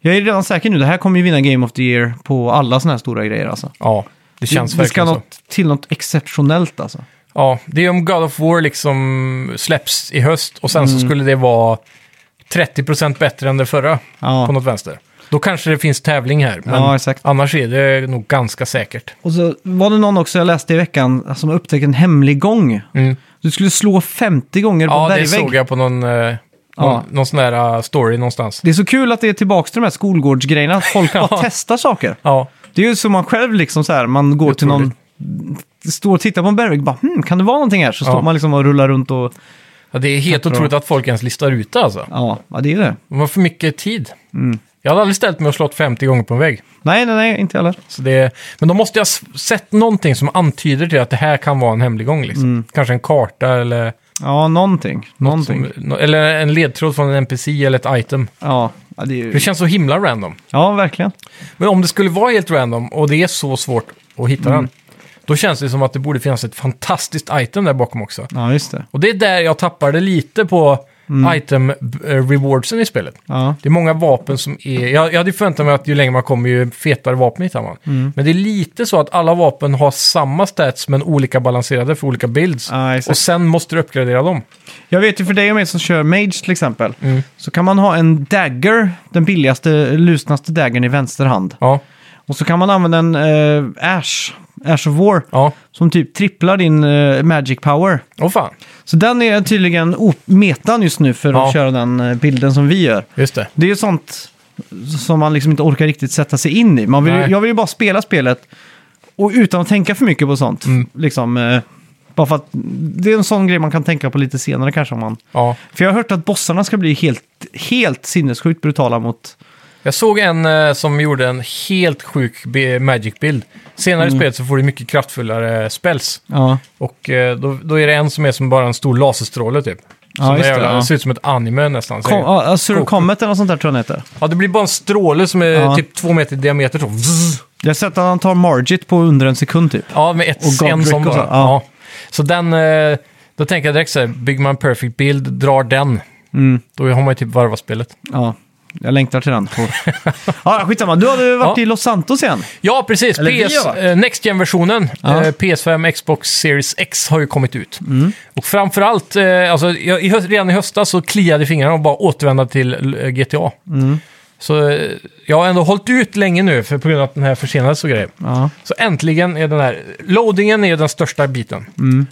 Speaker 2: Jag är redan säker nu, det här kommer ju vinna Game of the Year på alla sådana här stora grejer alltså.
Speaker 3: Ja, det känns
Speaker 2: det, det ska
Speaker 3: verkligen så.
Speaker 2: något, till något exceptionellt alltså.
Speaker 3: Ja, det är om God of War liksom släpps i höst och sen
Speaker 2: Mm.
Speaker 3: så skulle det vara 30% bättre än det förra
Speaker 2: Ja.
Speaker 3: på något vänster. Då kanske det finns tävling här, men
Speaker 2: Ja, exakt.
Speaker 3: annars är det nog ganska säkert.
Speaker 2: Och så var det någon också jag läste i veckan eh, som upptäckte en hemlig gång.
Speaker 3: Mm.
Speaker 2: Du skulle slå 50 gånger på
Speaker 3: Ja,
Speaker 2: en
Speaker 3: det
Speaker 2: bergvägg.
Speaker 3: såg jag på någon, eh, någon,
Speaker 2: Ja.
Speaker 3: någon sån där eh, story någonstans.
Speaker 2: Det är så kul att det är tillbaka till de här skolgårdsgrejerna, att folk bara
Speaker 3: Ja.
Speaker 2: testar saker.
Speaker 3: Ja,
Speaker 2: Det är ju som man själv liksom så här, man går till någon, står och tittar på en bergvägg och bara hmm, kan det vara någonting här? Så står
Speaker 3: Ja.
Speaker 2: man liksom och rullar runt och
Speaker 3: ja det är helt
Speaker 2: tror-
Speaker 3: otroligt att folk ens listar ut det alltså.
Speaker 2: ja, ja det är det.
Speaker 3: De har för mycket tid.
Speaker 2: Mm.
Speaker 3: Jag hade aldrig ställt mig och slått 50 gånger på en vägg.
Speaker 2: Nej, nej, nej, inte jag heller.
Speaker 3: Så det, men då måste jag s- sett någonting som antyder till att det här kan vara en hemlig gång. Liksom.
Speaker 2: Mm.
Speaker 3: Kanske en karta eller,
Speaker 2: Ja, någonting. Någonting.
Speaker 3: som, nå- eller en ledtråd från en NPC eller ett item.
Speaker 2: Ja, ja, det är
Speaker 3: Det
Speaker 2: ju...
Speaker 3: känns så himla random.
Speaker 2: ja, verkligen.
Speaker 3: Men om det skulle vara helt random och det är så svårt att hitta
Speaker 2: Mm.
Speaker 3: den, då känns det som att det borde finnas ett fantastiskt item där bakom också.
Speaker 2: Ja, just det.
Speaker 3: Och det är där jag tappade lite på
Speaker 2: Mm.
Speaker 3: item-rewardsen i spelet.
Speaker 2: Ja,
Speaker 3: Det är många vapen som är... Jag, jag hade ju förväntat mig att ju längre man kommer ju fetare vapen hittar man.
Speaker 2: Mm.
Speaker 3: Men det är lite så att alla vapen har samma stats men olika balanserade för olika builds.
Speaker 2: Ja, exakt.
Speaker 3: och sen måste du uppgradera dem.
Speaker 2: jag vet ju för dig och mig som kör Mage till exempel,
Speaker 3: Mm.
Speaker 2: så kan man ha en dagger, den billigaste, lusnaste daggern i vänster hand.
Speaker 3: Ja,
Speaker 2: Och så kan man använda en eh, Ash, Ash of War,
Speaker 3: ja.
Speaker 2: som typ tripplar din eh, magic power.
Speaker 3: Åh fan.
Speaker 2: Så den är tydligen o- metan just nu för att
Speaker 3: Ja.
Speaker 2: köra den eh, bilden som vi gör.
Speaker 3: Just det.
Speaker 2: Det är ju sånt som man liksom inte orkar riktigt sätta sig in i. Man vill, ju-
Speaker 3: Nej.
Speaker 2: jag vill ju bara spela spelet och utan att tänka för mycket på sånt.
Speaker 3: Mm.
Speaker 2: Liksom, eh, bara för att det är en sån grej man kan tänka på lite senare kanske. Om man...
Speaker 3: Ja.
Speaker 2: För jag har hört att bossarna ska bli helt, helt sinnessjukt brutala mot...
Speaker 3: Jag såg en eh, som gjorde en helt sjuk be- magic-bild. Senare
Speaker 2: Mm.
Speaker 3: i spelet så får du mycket kraftfullare spells.
Speaker 2: Ja,
Speaker 3: Och eh, då, då är det en som är som bara en stor laserstråle typ.
Speaker 2: Ja,
Speaker 3: Som
Speaker 2: just
Speaker 3: är-
Speaker 2: det, ja.
Speaker 3: ser ut som ett anime nästan.
Speaker 2: Kom, ja Sur Comet eller något sånt där tror jag den heter.
Speaker 3: Ja, det blir bara en stråle som är
Speaker 2: Ja.
Speaker 3: typ två meter i diameter. Så. vzz.
Speaker 2: Jag har sett att han tar Margit på under en sekund typ.
Speaker 3: Ja, med ett,
Speaker 2: Och Godric
Speaker 3: en som
Speaker 2: och så.
Speaker 3: bara.
Speaker 2: Ja.
Speaker 3: Ja. Så den, eh, då tänker jag direkt så här, bygger man en perfect bild, drar den.
Speaker 2: Mm.
Speaker 3: Då har man ju typ varvat spelet.
Speaker 2: Ja, jag längtar till den. ja, skitsamma. Du hade ju varit
Speaker 3: Ja.
Speaker 2: i Los Santos igen.
Speaker 3: Ja, precis.
Speaker 2: Eller vi
Speaker 3: PS,
Speaker 2: har varit.
Speaker 3: eh, Next Gen-versionen,
Speaker 2: Ja. Mm.
Speaker 3: eh, PS5, Xbox Series X har ju kommit ut. Och framförallt,
Speaker 2: Mm.
Speaker 3: eh, alltså, jag, i höst, redan i höstas så kliade fingrarna och bara återvända till eh, GTA. Så eh, jag har ändå hållit ut länge nu för på grund av att den här försenades och grejer.
Speaker 2: Ja.
Speaker 3: Så äntligen är den här... Loadingen är ju den största biten.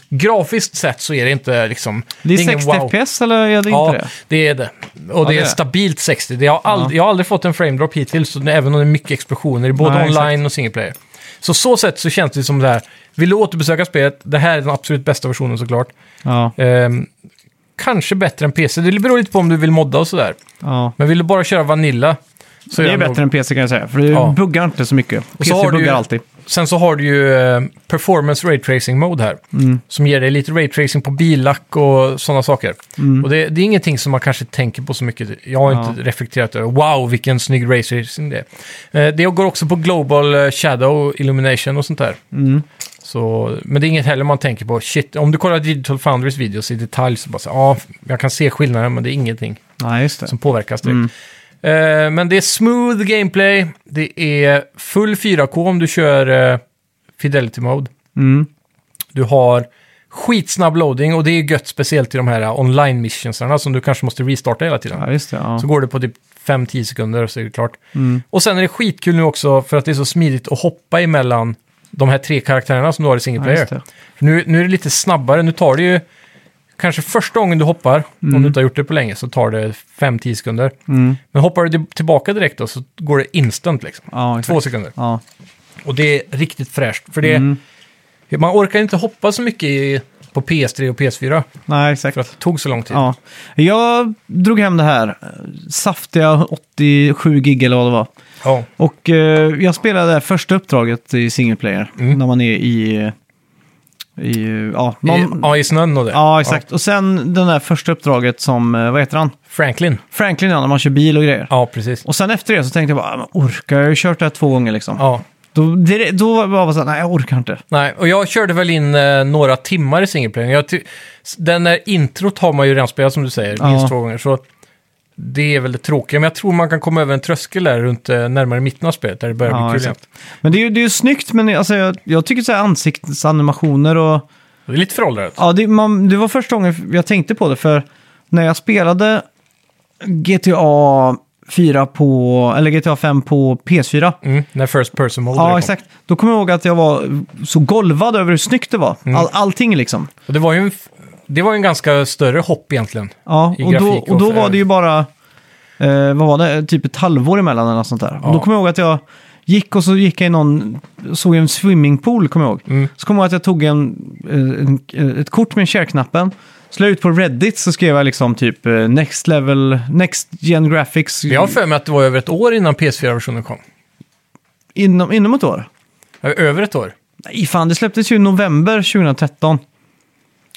Speaker 3: Grafiskt sett så är det inte liksom...
Speaker 2: Mm. Det är
Speaker 3: ingen
Speaker 2: 60 FPS eller är det
Speaker 3: Ja,
Speaker 2: inte det?
Speaker 3: det är det. Och det
Speaker 2: det
Speaker 3: är
Speaker 2: är det.
Speaker 3: stabilt 60. Det har ald- Jag har aldrig fått en frame drop hittills, så det- även om det är mycket explosioner i både
Speaker 2: Nej,
Speaker 3: online och single player. Så så sätt så känns det som det här. Vill du återbesöka spelet? Det här är den absolut bästa versionen såklart.
Speaker 2: Ja,
Speaker 3: Ehm, kanske bättre än PC. Det beror lite på om du vill modda och sådär.
Speaker 2: ja.
Speaker 3: Men vill du bara köra Vanilla så
Speaker 2: Det är
Speaker 3: den nog-
Speaker 2: bättre än PC kan jag säga, för det
Speaker 3: Ja.
Speaker 2: buggar inte så mycket. PC
Speaker 3: har du
Speaker 2: buggar
Speaker 3: ju-
Speaker 2: alltid.
Speaker 3: Sen så har du ju eh, Performance Ray Tracing Mode här. Som ger dig lite Ray Tracing på billack och sådana saker. Och det, det är ingenting som man kanske tänker på så mycket. Jag har
Speaker 2: Ja.
Speaker 3: inte reflekterat över, wow vilken snygg Ray Tracing det är. Eh, Det går också på Global eh, Shadow Illumination och sånt där. Så, men det är inget heller man tänker på, shit, om du kollar Digital Foundries videos i detalj så bara så, ja, jag kan se skillnaden men det är ingenting
Speaker 2: Nej, just det.
Speaker 3: som påverkas direkt. Eh, men det är smooth gameplay, det är full 4K om du kör eh, Fidelity Mode.
Speaker 2: Mm.
Speaker 3: Du har skitsnabb loading och det är gött speciellt i de här eh, online missionsarna som du kanske måste restarta hela tiden.
Speaker 2: Ja, just det. Ja. Mm.
Speaker 3: Så går det på typ 5-10 sekunder och så är det klart. Och sen är det skitkul nu också för att det är så smidigt att hoppa emellan de här tre karaktärerna som du har i single
Speaker 2: Ja,
Speaker 3: player.
Speaker 2: just det.
Speaker 3: Nu, nu är det lite snabbare. Nu tar det ju kanske första gången du hoppar, om du inte har gjort det på länge, så tar det 5-10 sekunder.
Speaker 2: Mm.
Speaker 3: Men hoppar du di- tillbaka direkt då så går det instant liksom.
Speaker 2: Ja,
Speaker 3: Två
Speaker 2: exakt.
Speaker 3: sekunder.
Speaker 2: Ja.
Speaker 3: Och det är riktigt fräscht. För det,
Speaker 2: Mm.
Speaker 3: man orkar inte hoppa så mycket i, på PS3 och PS4
Speaker 2: Nej, exakt.
Speaker 3: för att det tog så lång tid.
Speaker 2: Ja. Jag drog hem det här eh, saftiga 87 gig eller vad det var.
Speaker 3: Ja.
Speaker 2: Och eh, jag spelade det här första uppdraget i single player.
Speaker 3: Mm.
Speaker 2: När man är i... eh, i eh, ja, man,
Speaker 3: I, ja, i snön och det.
Speaker 2: ja, exakt. Och sen den där första uppdraget som, eh, vad heter han?
Speaker 3: Franklin.
Speaker 2: Franklin, ja, när man kör bil och grejer.
Speaker 3: Ja, precis.
Speaker 2: Och sen efter det så tänkte jag bara, "Ah, men orkar jag? Jag har ju kört det här två gånger liksom.
Speaker 3: Ja.
Speaker 2: Då, det, då var jag bara så här, nej jag orkar inte.
Speaker 3: Nej, och jag körde väl in eh, några timmar i singleplayen. Jag ty- s- den där introt har man ju redan spelat som du säger,
Speaker 2: Ja.
Speaker 3: minst två gånger. Så det är väl det tråkiga, men jag tror man kan komma över en tröskel där runt eh, närmare mitten av spelet, där det börjar
Speaker 2: Ja,
Speaker 3: bli kul igen.
Speaker 2: exakt. Men det är ju, det är ju snyggt, men alltså, jag, jag tycker så här ansiktsanimationer och...
Speaker 3: Det är lite föråldrat.
Speaker 2: Ja, det, man, det var första gången jag tänkte på det, för när jag spelade GTA 4 på, eller GTA 5 på PS4,
Speaker 3: Mm, när First Person Mode där
Speaker 2: ja
Speaker 3: kom.
Speaker 2: exakt, då kommer jag ihåg att jag var så golvad över hur snyggt det var. All, allting liksom.
Speaker 3: Och det var ju en, f- det var ju en ganska större hopp egentligen.
Speaker 2: Ja,
Speaker 3: I
Speaker 2: och då,
Speaker 3: grafik och
Speaker 2: och då
Speaker 3: för-
Speaker 2: var det ju bara, eh, vad var det, typ ett halvår emellan eller något sånt där. Och då
Speaker 3: Ja.
Speaker 2: kommer jag ihåg att jag gick och så gick jag i någon, såg en swimmingpool kommer jag ihåg.
Speaker 3: Mm.
Speaker 2: Så kommer jag ihåg att jag tog en, eh, en, ett kort med share-knappen, så la jag ut på Reddit så skrev jag liksom typ eh, next level, next gen graphics
Speaker 3: Jag har för mig att det var över ett år innan PS4-versionen kom.
Speaker 2: inom, inom ett år.
Speaker 3: Ja, Över ett år.
Speaker 2: Nej fan, det släpptes ju i november 2013.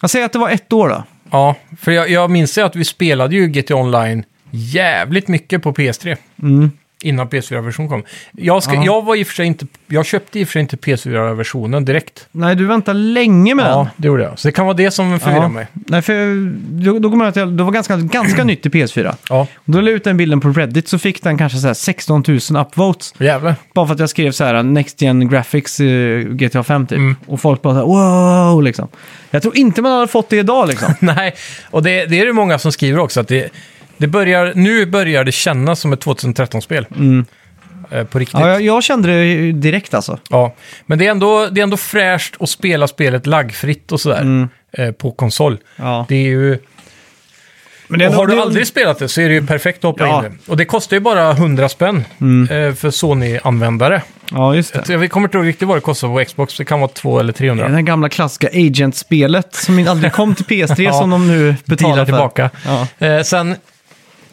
Speaker 2: Jag säger att det var ett år då.
Speaker 3: Ja, för jag, jag minns ju att vi spelade ju GTA Online jävligt mycket på PS3.
Speaker 2: Mm.
Speaker 3: Innan PS4-versionen kom. Jag, ska,
Speaker 2: Ja.
Speaker 3: jag, var i och för sig inte, jag köpte i och för sig inte PS4-versionen direkt.
Speaker 2: Nej, du väntade länge med den.
Speaker 3: Ja, det gjorde jag. Så det kan vara det som förvirrar
Speaker 2: Ja.
Speaker 3: mig.
Speaker 2: Nej, för då, då kommer jag ihåg att jag, det var ganska, ganska nytt i PS4.
Speaker 3: Ja,
Speaker 2: Då la jag ut den bilden på Reddit så fick den kanske så här 16 000 upvotes.
Speaker 3: jävlar.
Speaker 2: Bara för att jag skrev så här uh, Next Gen Graphics eh, GTA 5 typ.
Speaker 3: Mm.
Speaker 2: Och folk bara så här wow liksom. Jag tror inte man hade fått det idag liksom.
Speaker 3: Nej, och det, det är det många som skriver också. Att det, det börjar, nu börjar det kännas som ett 2013-spel. Eh, På riktigt.
Speaker 2: Mm. ja, jag, jag kände det ju direkt alltså.
Speaker 3: Ja, men det är ändå, det är ändå fräscht att spela spelet laggfritt och sådär
Speaker 2: Mm.
Speaker 3: eh, på konsol.
Speaker 2: Ja.
Speaker 3: Det är ju,
Speaker 2: Men det är
Speaker 3: och
Speaker 2: ändå-
Speaker 3: har du
Speaker 2: det-
Speaker 3: aldrig spelat det så är det ju perfekt att hoppa
Speaker 2: Ja. Mm.
Speaker 3: in i det. Och det kostar ju bara 100 spänn eh, för Sony-användare.
Speaker 2: Ja, just det.
Speaker 3: Så Jag kommer inte ihåg riktigt vad det kostar på Xbox, det kan vara 2 eller
Speaker 2: Det
Speaker 3: 300.
Speaker 2: är Det här gamla klassiska Agent-spelet som aldrig kom till PS3 som de nu betalar
Speaker 3: Dealar
Speaker 2: för.
Speaker 3: tillbaka.
Speaker 2: Ja.
Speaker 3: Eh, sen,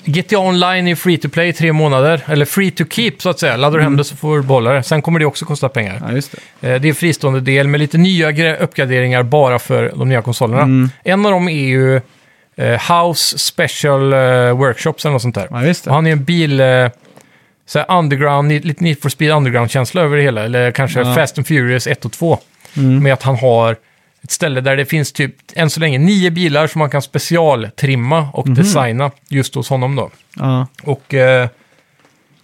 Speaker 3: GTA Online är free to play i tre månader, eller free to keep så att säga. Laddar du hem det så får du behålla det. Sen kommer det också kosta pengar.
Speaker 2: Ja, just det.
Speaker 3: Eh, Det är en fristående del med lite nya gre- uppgraderingar bara för de nya konsolerna. En av dem är ju eh, House Special eh, Workshops eller något sånt där.
Speaker 2: Ja, just det.
Speaker 3: Och han är en bil... Eh, så här underground, ni- lite Need for Speed Underground-känsla över det hela. Eller kanske
Speaker 2: Ja.
Speaker 3: Fast and Furious 1 och 2. Med att han har ett ställe där det finns typ, än så länge, nio bilar som man kan specialtrimma och designa just hos honom då.
Speaker 2: Ja,
Speaker 3: Och eh,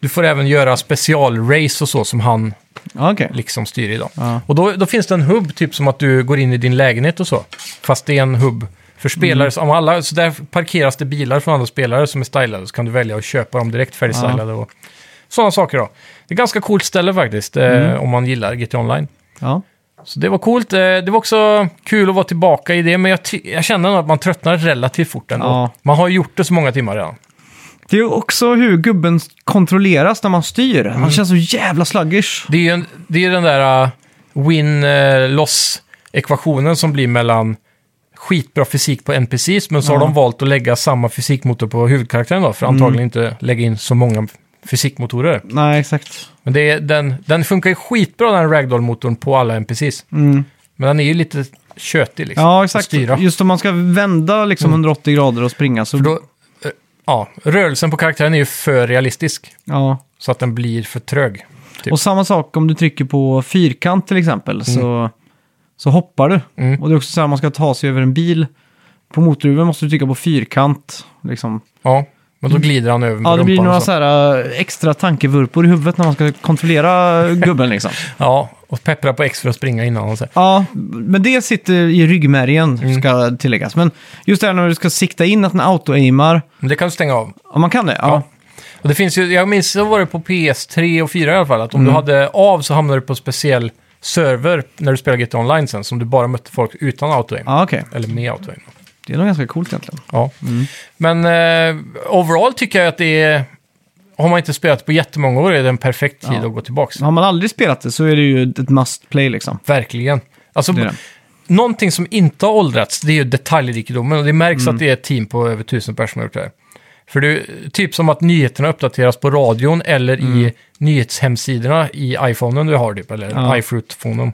Speaker 3: du får även göra specialrace och så som han
Speaker 2: ja okej.
Speaker 3: liksom styr idag.
Speaker 2: Ja.
Speaker 3: Och då, då finns det en hubb, typ som att du går in i din lägenhet och så. Fast det är en hubb För spelare, som alla, så där parkeras det bilar från andra spelare som är stylade, så kan du välja att köpa dem direkt färdigstylade och sådana saker då. Det är ett ganska coolt ställe faktiskt, eh, om man gillar GTA Online.
Speaker 2: Ja.
Speaker 3: Så det var coolt. Eh, Det var också kul att vara tillbaka i det, men jag, ty- jag känner nog att man tröttnar relativt fort ändå.
Speaker 2: Ja.
Speaker 3: Man har ju gjort det så många timmar redan.
Speaker 2: Det är ju också hur gubben kontrolleras när man styr.
Speaker 3: Mm.
Speaker 2: Han känns så jävla sluggish.
Speaker 3: Det är ju en, det är ju den där uh, win-loss-ekvationen som blir mellan skitbra fysik på NPCs, men så har
Speaker 2: Ja. Mm.
Speaker 3: de valt att lägga samma fysikmotor på huvudkaraktären då, för antagligen inte lägga in så många fysikmotorer.
Speaker 2: Nej, exakt.
Speaker 3: Men det är, den, den funkar ju skitbra, den ragdoll-motorn, på alla NPCs.
Speaker 2: Mm.
Speaker 3: Men den är ju lite tjötig liksom.
Speaker 2: Ja,
Speaker 3: att
Speaker 2: exakt.
Speaker 3: Styra. Mm.
Speaker 2: Just om man ska vända liksom 180 grader och springa så...
Speaker 3: För då, eh, ja, rörelsen på karaktären är ju för realistisk,
Speaker 2: Ja.
Speaker 3: så att den blir för trög. Typ.
Speaker 2: Och samma sak om du trycker på fyrkant till exempel så, så hoppar du.
Speaker 3: Mm.
Speaker 2: Och det är också så här man ska ta sig över en bil. På motorhuven måste du trycka på fyrkant. Liksom.
Speaker 3: Ja, men då glider han över med
Speaker 2: Ja, det blir
Speaker 3: rumpan och
Speaker 2: några
Speaker 3: så.
Speaker 2: så här äh, extra tankevurpor i huvudet när man ska kontrollera gubben liksom.
Speaker 3: Ja, och peppra på X för att springa innan och så. här.
Speaker 2: Ja, men det sitter i ryggmärgen
Speaker 3: Mm.
Speaker 2: ska tilläggas. Men just det här när du ska sikta in att den auto-aimar.
Speaker 3: Men det kan du stänga av.
Speaker 2: Ja, man kan det. Ja.
Speaker 3: Ja. Och det finns ju, jag minns, så var det på PS3 och 4 i alla fall, att om
Speaker 2: Mm.
Speaker 3: du hade av så hamnade du på speciell server när du spelade GTA Online sen, som du bara mötte folk utan autoaim.
Speaker 2: Ja, okej.
Speaker 3: Eller med autoaim.
Speaker 2: Det är nog ganska coolt egentligen.
Speaker 3: Ja.
Speaker 2: Mm.
Speaker 3: Men eh, overall tycker jag att det är, har man inte spelat på jättemånga år är det en perfekt tid
Speaker 2: Ja.
Speaker 3: att gå tillbaka.
Speaker 2: Har man aldrig spelat det så är det ju ett must play liksom.
Speaker 3: Verkligen. Alltså,
Speaker 2: Det är det.
Speaker 3: Någonting som inte har åldrats, det är ju detaljrikedomen. Och det märks
Speaker 2: Mm.
Speaker 3: att det är ett team på över tusen personer som har gjort det här. För det är typ som att nyheterna uppdateras på radion eller
Speaker 2: Mm.
Speaker 3: i nyhetshemsidorna i iPhonen du har typ, eller
Speaker 2: Ja.
Speaker 3: iFruit-fonen.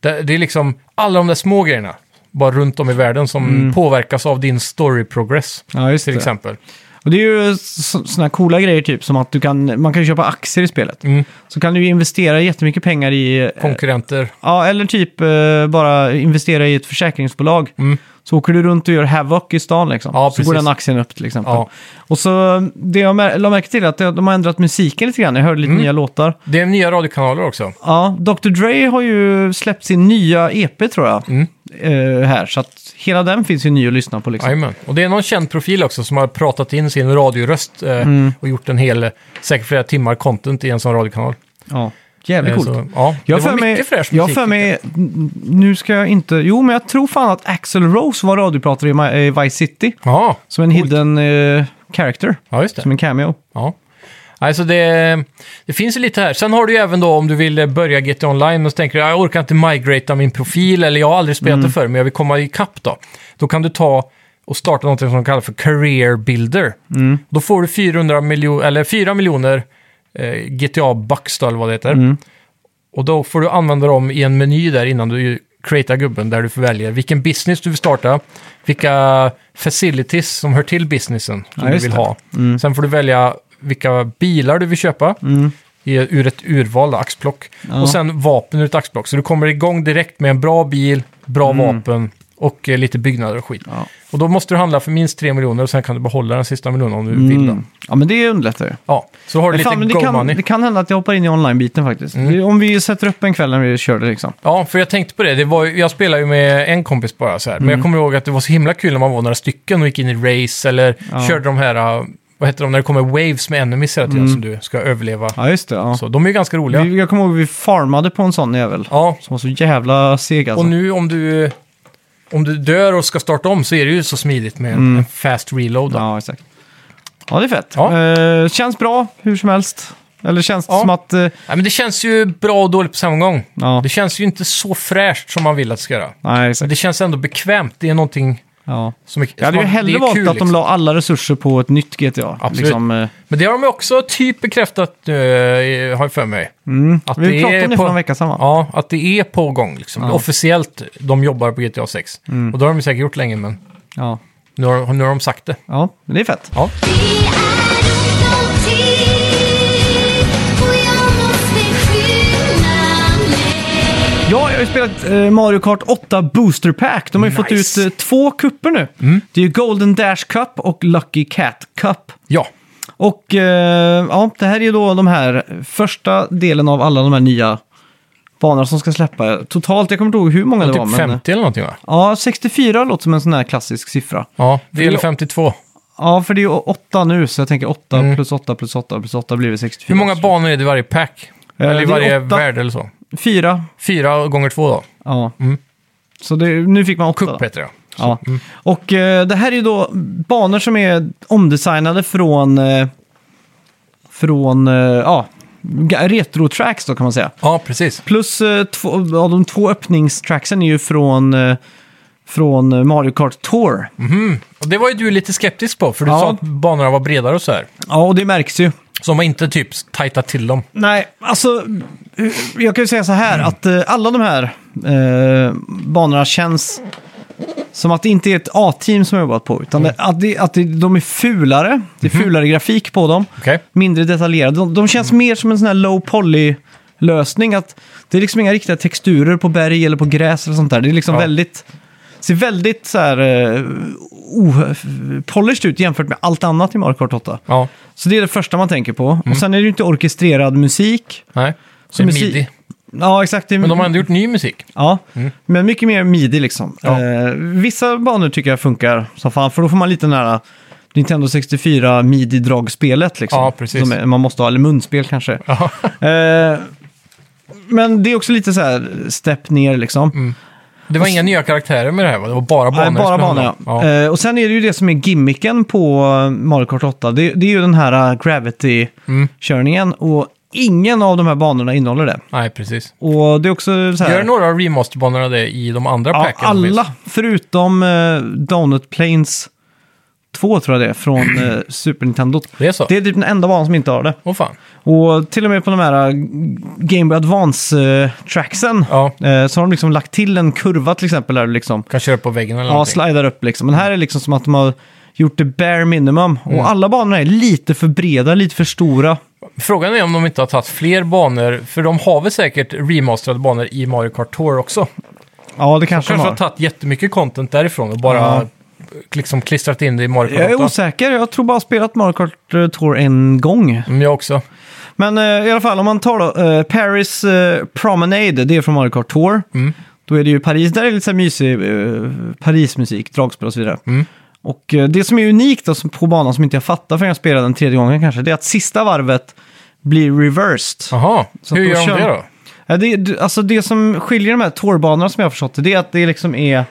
Speaker 3: Det, det är liksom alla de där små grejerna, bara runt om i världen, som påverkas av din story progress.
Speaker 2: Ja, Mm. just
Speaker 3: Till
Speaker 2: det.
Speaker 3: exempel.
Speaker 2: Och det är ju sådana coola grejer typ som att du kan, man kan ju köpa aktier i spelet.
Speaker 3: Mm.
Speaker 2: Så kan du ju investera jättemycket pengar i... eh,
Speaker 3: Konkurrenter.
Speaker 2: Ja, eller typ eh, bara investera i ett försäkringsbolag.
Speaker 3: Mm.
Speaker 2: Så åker du runt och gör havoc i stan liksom.
Speaker 3: Ja,
Speaker 2: så
Speaker 3: precis.
Speaker 2: går den aktien upp till exempel.
Speaker 3: Ja.
Speaker 2: Och så det jag mär- la märke till är att det- de har ändrat musiken lite grann. Jag hörde lite
Speaker 3: Mm.
Speaker 2: nya låtar.
Speaker 3: Det är nya radiokanaler också.
Speaker 2: Ja, Dr. Dre har ju släppt sin nya EP tror jag.
Speaker 3: Mm.
Speaker 2: Eh, här, så att hela den finns ju ny att lyssna på liksom.
Speaker 3: Jajamän. Och det är någon känd profil också som har pratat in sin radioröst eh,
Speaker 2: Mm.
Speaker 3: och gjort en hel, eh, säkert flera timmar content i en sån radiokanal.
Speaker 2: Ja, jävligt
Speaker 3: Eh,
Speaker 2: coolt.
Speaker 3: så, ja,
Speaker 2: Jag
Speaker 3: det var
Speaker 2: för mig,
Speaker 3: mycket fräsch
Speaker 2: Jag
Speaker 3: musik,
Speaker 2: för
Speaker 3: tycker
Speaker 2: mig, n- nu ska jag inte, jo men jag tror fan att Axel Rose var radiopratare i, Ma- i Vice City.
Speaker 3: jag. Ja,
Speaker 2: Som en hidden eh, character,
Speaker 3: ja just det.
Speaker 2: som en cameo.
Speaker 3: Ja. Alltså det, det finns ju lite här. Sen har du ju även då om du vill eh, börja GTA Online och så tänker du jag orkar inte migrata min profil eller jag har aldrig
Speaker 2: Mm.
Speaker 3: spelat det förr men jag vill komma ikapp då. Då kan du ta och starta något som de kallar för Career Builder. Då får du 400 miljo- eller 4 miljoner eh, GTA Bucks då, eller vad det heter.
Speaker 2: Mm.
Speaker 3: Och då får du använda dem i en meny där innan du ju createar gubben där du väljer vilken business du vill starta, vilka facilities som hör till businessen som
Speaker 2: Ja,
Speaker 3: du
Speaker 2: just
Speaker 3: vill
Speaker 2: det. Mm.
Speaker 3: ha. Sen får du välja vilka bilar du vill köpa i, ur ett urval, då, axplock.
Speaker 2: Ja.
Speaker 3: Och sen vapen ur ett axplock. Så du kommer igång direkt med en bra bil, bra vapen och eh, lite byggnader och skit.
Speaker 2: Mm. Ja.
Speaker 3: Och då måste du handla för minst 3 miljoner och sen kan du behålla den sista miljonen om du vill. Då.
Speaker 2: Ja men det underlättar ju.
Speaker 3: Ja, så har du
Speaker 2: Mm. Men
Speaker 3: lite
Speaker 2: fan, men det,
Speaker 3: Mm. go
Speaker 2: kan,
Speaker 3: money.
Speaker 2: det kan hända att jag hoppar in i online-biten faktiskt. Det- Om vi sätter upp en kväll när vi kör det liksom.
Speaker 3: Ja, för jag tänkte på det. det var, ju- jag spelade ju med en kompis bara så här.
Speaker 2: Mm.
Speaker 3: Men jag kommer ihåg att det var så himla kul när man var några stycken och gick in i race eller
Speaker 2: Ja.
Speaker 3: körde de här, uh, vad heter de, när det kommer waves med enemies hela tiden som du ska överleva.
Speaker 2: Ja just det, Mm. ja. Mm.
Speaker 3: Så de är ju ganska roliga.
Speaker 2: Vi, jag kommer ihåg vi farmade på en sån jävel.
Speaker 3: Ja,
Speaker 2: Som var så jävla seg alltså.
Speaker 3: och nu om du, om du dör och ska starta om så är det ju så smidigt med en- en fast reload. då.
Speaker 2: Mm. Ja, exakt. Ja, det är fett.
Speaker 3: Ja.
Speaker 2: Eh, känns bra hur som helst. Eller känns det
Speaker 3: Ja.
Speaker 2: som att... eh,
Speaker 3: Ja, men det känns ju bra och dåligt på samma gång.
Speaker 2: ja,
Speaker 3: Det känns ju inte så fräscht som man vill att det ska göra.
Speaker 2: nej
Speaker 3: Men
Speaker 2: exakt.
Speaker 3: det känns ändå bekvämt. Det är någonting
Speaker 2: Ja.
Speaker 3: som är,
Speaker 2: Jag hade ju
Speaker 3: som- det
Speaker 2: hellre
Speaker 3: är
Speaker 2: valt
Speaker 3: kul,
Speaker 2: att de
Speaker 3: liksom.
Speaker 2: la alla resurser på ett nytt GTA.
Speaker 3: Absolut.
Speaker 2: Liksom, eh,
Speaker 3: Men det har de ju också typ bekräftat nu, eh, har jag för mig.
Speaker 2: mm.
Speaker 3: Att det
Speaker 2: Vi pratade
Speaker 3: är
Speaker 2: om det
Speaker 3: på-
Speaker 2: för en vecka sedan va?
Speaker 3: Ja, att det är på gång liksom.
Speaker 2: Ja. Mm.
Speaker 3: Officiellt, de jobbar på GTA 6. Och det har de ju säkert gjort länge, men
Speaker 2: Ja.
Speaker 3: nu har, nu har de sagt det.
Speaker 2: ja, men det är fett.
Speaker 3: Ja.
Speaker 1: Det är ont om tid och jag måste skynda mig
Speaker 2: Ja, jag har ju spelat eh, Mario Kart 8 Booster Pack. De har ju fått
Speaker 3: Nice. Mm.
Speaker 2: ut eh, två kupper nu. Det är ju Golden Dash Cup och Lucky Cat Cup.
Speaker 3: ja.
Speaker 2: Och eh, ja, det här är ju då de här första delen av alla de här nya banor som ska släppa. Totalt, jag kommer inte ihåg hur många det, var.
Speaker 3: Typ
Speaker 2: Men, eh,
Speaker 3: 50 eller någonting va?
Speaker 2: Ja, 64 låter som en sån här klassisk siffra.
Speaker 3: Ja, det
Speaker 2: Hur-
Speaker 3: gäller 52.
Speaker 2: Ja, för det är ju 8 nu, så jag tänker 8
Speaker 3: Mm.
Speaker 2: plus 8 plus 8 plus 8 blir det 64.
Speaker 3: Hur många banor är det i varje pack?
Speaker 2: Eh,
Speaker 3: Eller i
Speaker 2: det är
Speaker 3: varje
Speaker 2: åtta.
Speaker 3: värld eller så?
Speaker 2: Fyra.
Speaker 3: Fyra gånger två då?
Speaker 2: Ja.
Speaker 3: Mm.
Speaker 2: Så det, nu fick man 8.
Speaker 3: Cup heter det.
Speaker 2: Ja. Och eh, det här är ju då banor som är omdesignade från, eh, från eh, ja, ga- retro-tracks då kan man säga.
Speaker 3: Ja, precis.
Speaker 2: Plus eh, två, ja, de två öppningstracksen är ju från, eh, från eh, Mario Kart Tour.
Speaker 3: Och det var ju du lite skeptisk på, för du
Speaker 2: Ja.
Speaker 3: sa att banorna var bredare och så här.
Speaker 2: Ja, och det märks ju.
Speaker 3: Så de var inte typ tajta till dem.
Speaker 2: Nej, alltså eh, jag kan ju säga så här att eh, alla de här eh, banorna känns som att det inte är ett A-team som har jobbat på, utan det, att, det, att det, de är fulare. Det är fulare grafik på dem.
Speaker 3: Okej?
Speaker 2: mindre detaljerade. De, de känns mer som en sån här low poly lösning. Att det är liksom inga riktiga texturer på berg eller på gräs eller sånt där. Det är liksom
Speaker 3: Ja.
Speaker 2: väldigt, ser väldigt så här eh, o- polished ut jämfört med allt annat i Mario Kart 8.
Speaker 3: Ja.
Speaker 2: Så det är det första man tänker på.
Speaker 3: Mm.
Speaker 2: Och sen är det ju inte orkestrerad musik.
Speaker 3: Nej. Så
Speaker 2: Som
Speaker 3: det är
Speaker 2: musik-
Speaker 3: midi.
Speaker 2: Ja, exakt.
Speaker 3: Men de har ändå gjort ny musik.
Speaker 2: Ja, men mycket mer midi liksom.
Speaker 3: Mm. Ja.
Speaker 2: Eh, vissa banor tycker jag funkar som fan, för då får man lite nära Nintendo 64 midi-dragspelet liksom.
Speaker 3: Ja, precis.
Speaker 2: Som är- man måste ha, eller munspel kanske.
Speaker 3: Ja.
Speaker 2: Eh, men det är också lite så här stepp ner liksom.
Speaker 3: Det var inga nya karaktärer med det här va? Det var bara Mm, banor?
Speaker 2: Nej,
Speaker 3: det
Speaker 2: bara
Speaker 3: skulle
Speaker 2: banor, ja.
Speaker 3: handla om.
Speaker 2: Eh, och sen är det ju det som är gimmicken på eh, Mario Kart 8. Det, det är ju den här eh, Gravity-körningen.
Speaker 3: Mm.
Speaker 2: Och ingen av de här banorna innehåller det.
Speaker 3: Nej, precis.
Speaker 2: Och det är också så här...
Speaker 3: Gör några av remasterbanorna det i de andra
Speaker 2: ja,
Speaker 3: packen? som finns?
Speaker 2: alla, förutom eh, Donut Plains 2 tror jag det är, från eh, Super Nintendo.
Speaker 3: Det är så?
Speaker 2: Det är typ den enda banan som inte har det.
Speaker 3: Åh fan.
Speaker 2: Och till och med på de här eh, Game Boy Advance-tracksen
Speaker 3: Ja.
Speaker 2: Eh, Så har de liksom lagt till en kurva till exempel där du liksom,
Speaker 3: Kan köra på väggen eller
Speaker 2: ja,
Speaker 3: någonting.
Speaker 2: slidar upp liksom. Men här är liksom som att de har gjort det bare minimum.
Speaker 3: Mm.
Speaker 2: Och alla banorna är lite för breda, lite för stora.
Speaker 3: Frågan är om de inte har tagit fler banor, för de har väl säkert remasterade banor i Mario Kart Tour också.
Speaker 2: Ja, det kanske,
Speaker 3: Kanske har
Speaker 2: de har.
Speaker 3: tagit jättemycket content därifrån och bara
Speaker 2: Ja.
Speaker 3: liksom klistrat in det i Mario Kart 8.
Speaker 2: Jag är osäker, jag tror bara jag har spelat Mario Kart eh, Tour en gång.
Speaker 3: Mm, jag också.
Speaker 2: Men eh, i alla fall, om man tar då eh, Paris eh, Promenade, det är från Mario Kart Tour.
Speaker 3: Mm.
Speaker 2: Då är det ju Paris, där är det lite så här mysig eh, Parismusik, dragspel och så vidare.
Speaker 3: Mm.
Speaker 2: Och eh, det som är unikt då, som- på banan som inte jag fattar förrän jag spelade den tredje gången kanske, det är att sista varvet blir reversed.
Speaker 3: Jaha,
Speaker 2: Så
Speaker 3: hur
Speaker 2: att
Speaker 3: gör
Speaker 2: då
Speaker 3: de
Speaker 2: kör-
Speaker 3: det då?
Speaker 2: Ja, det, det- alltså det som skiljer de här tårbanorna som jag har förstått det, det är att det liksom är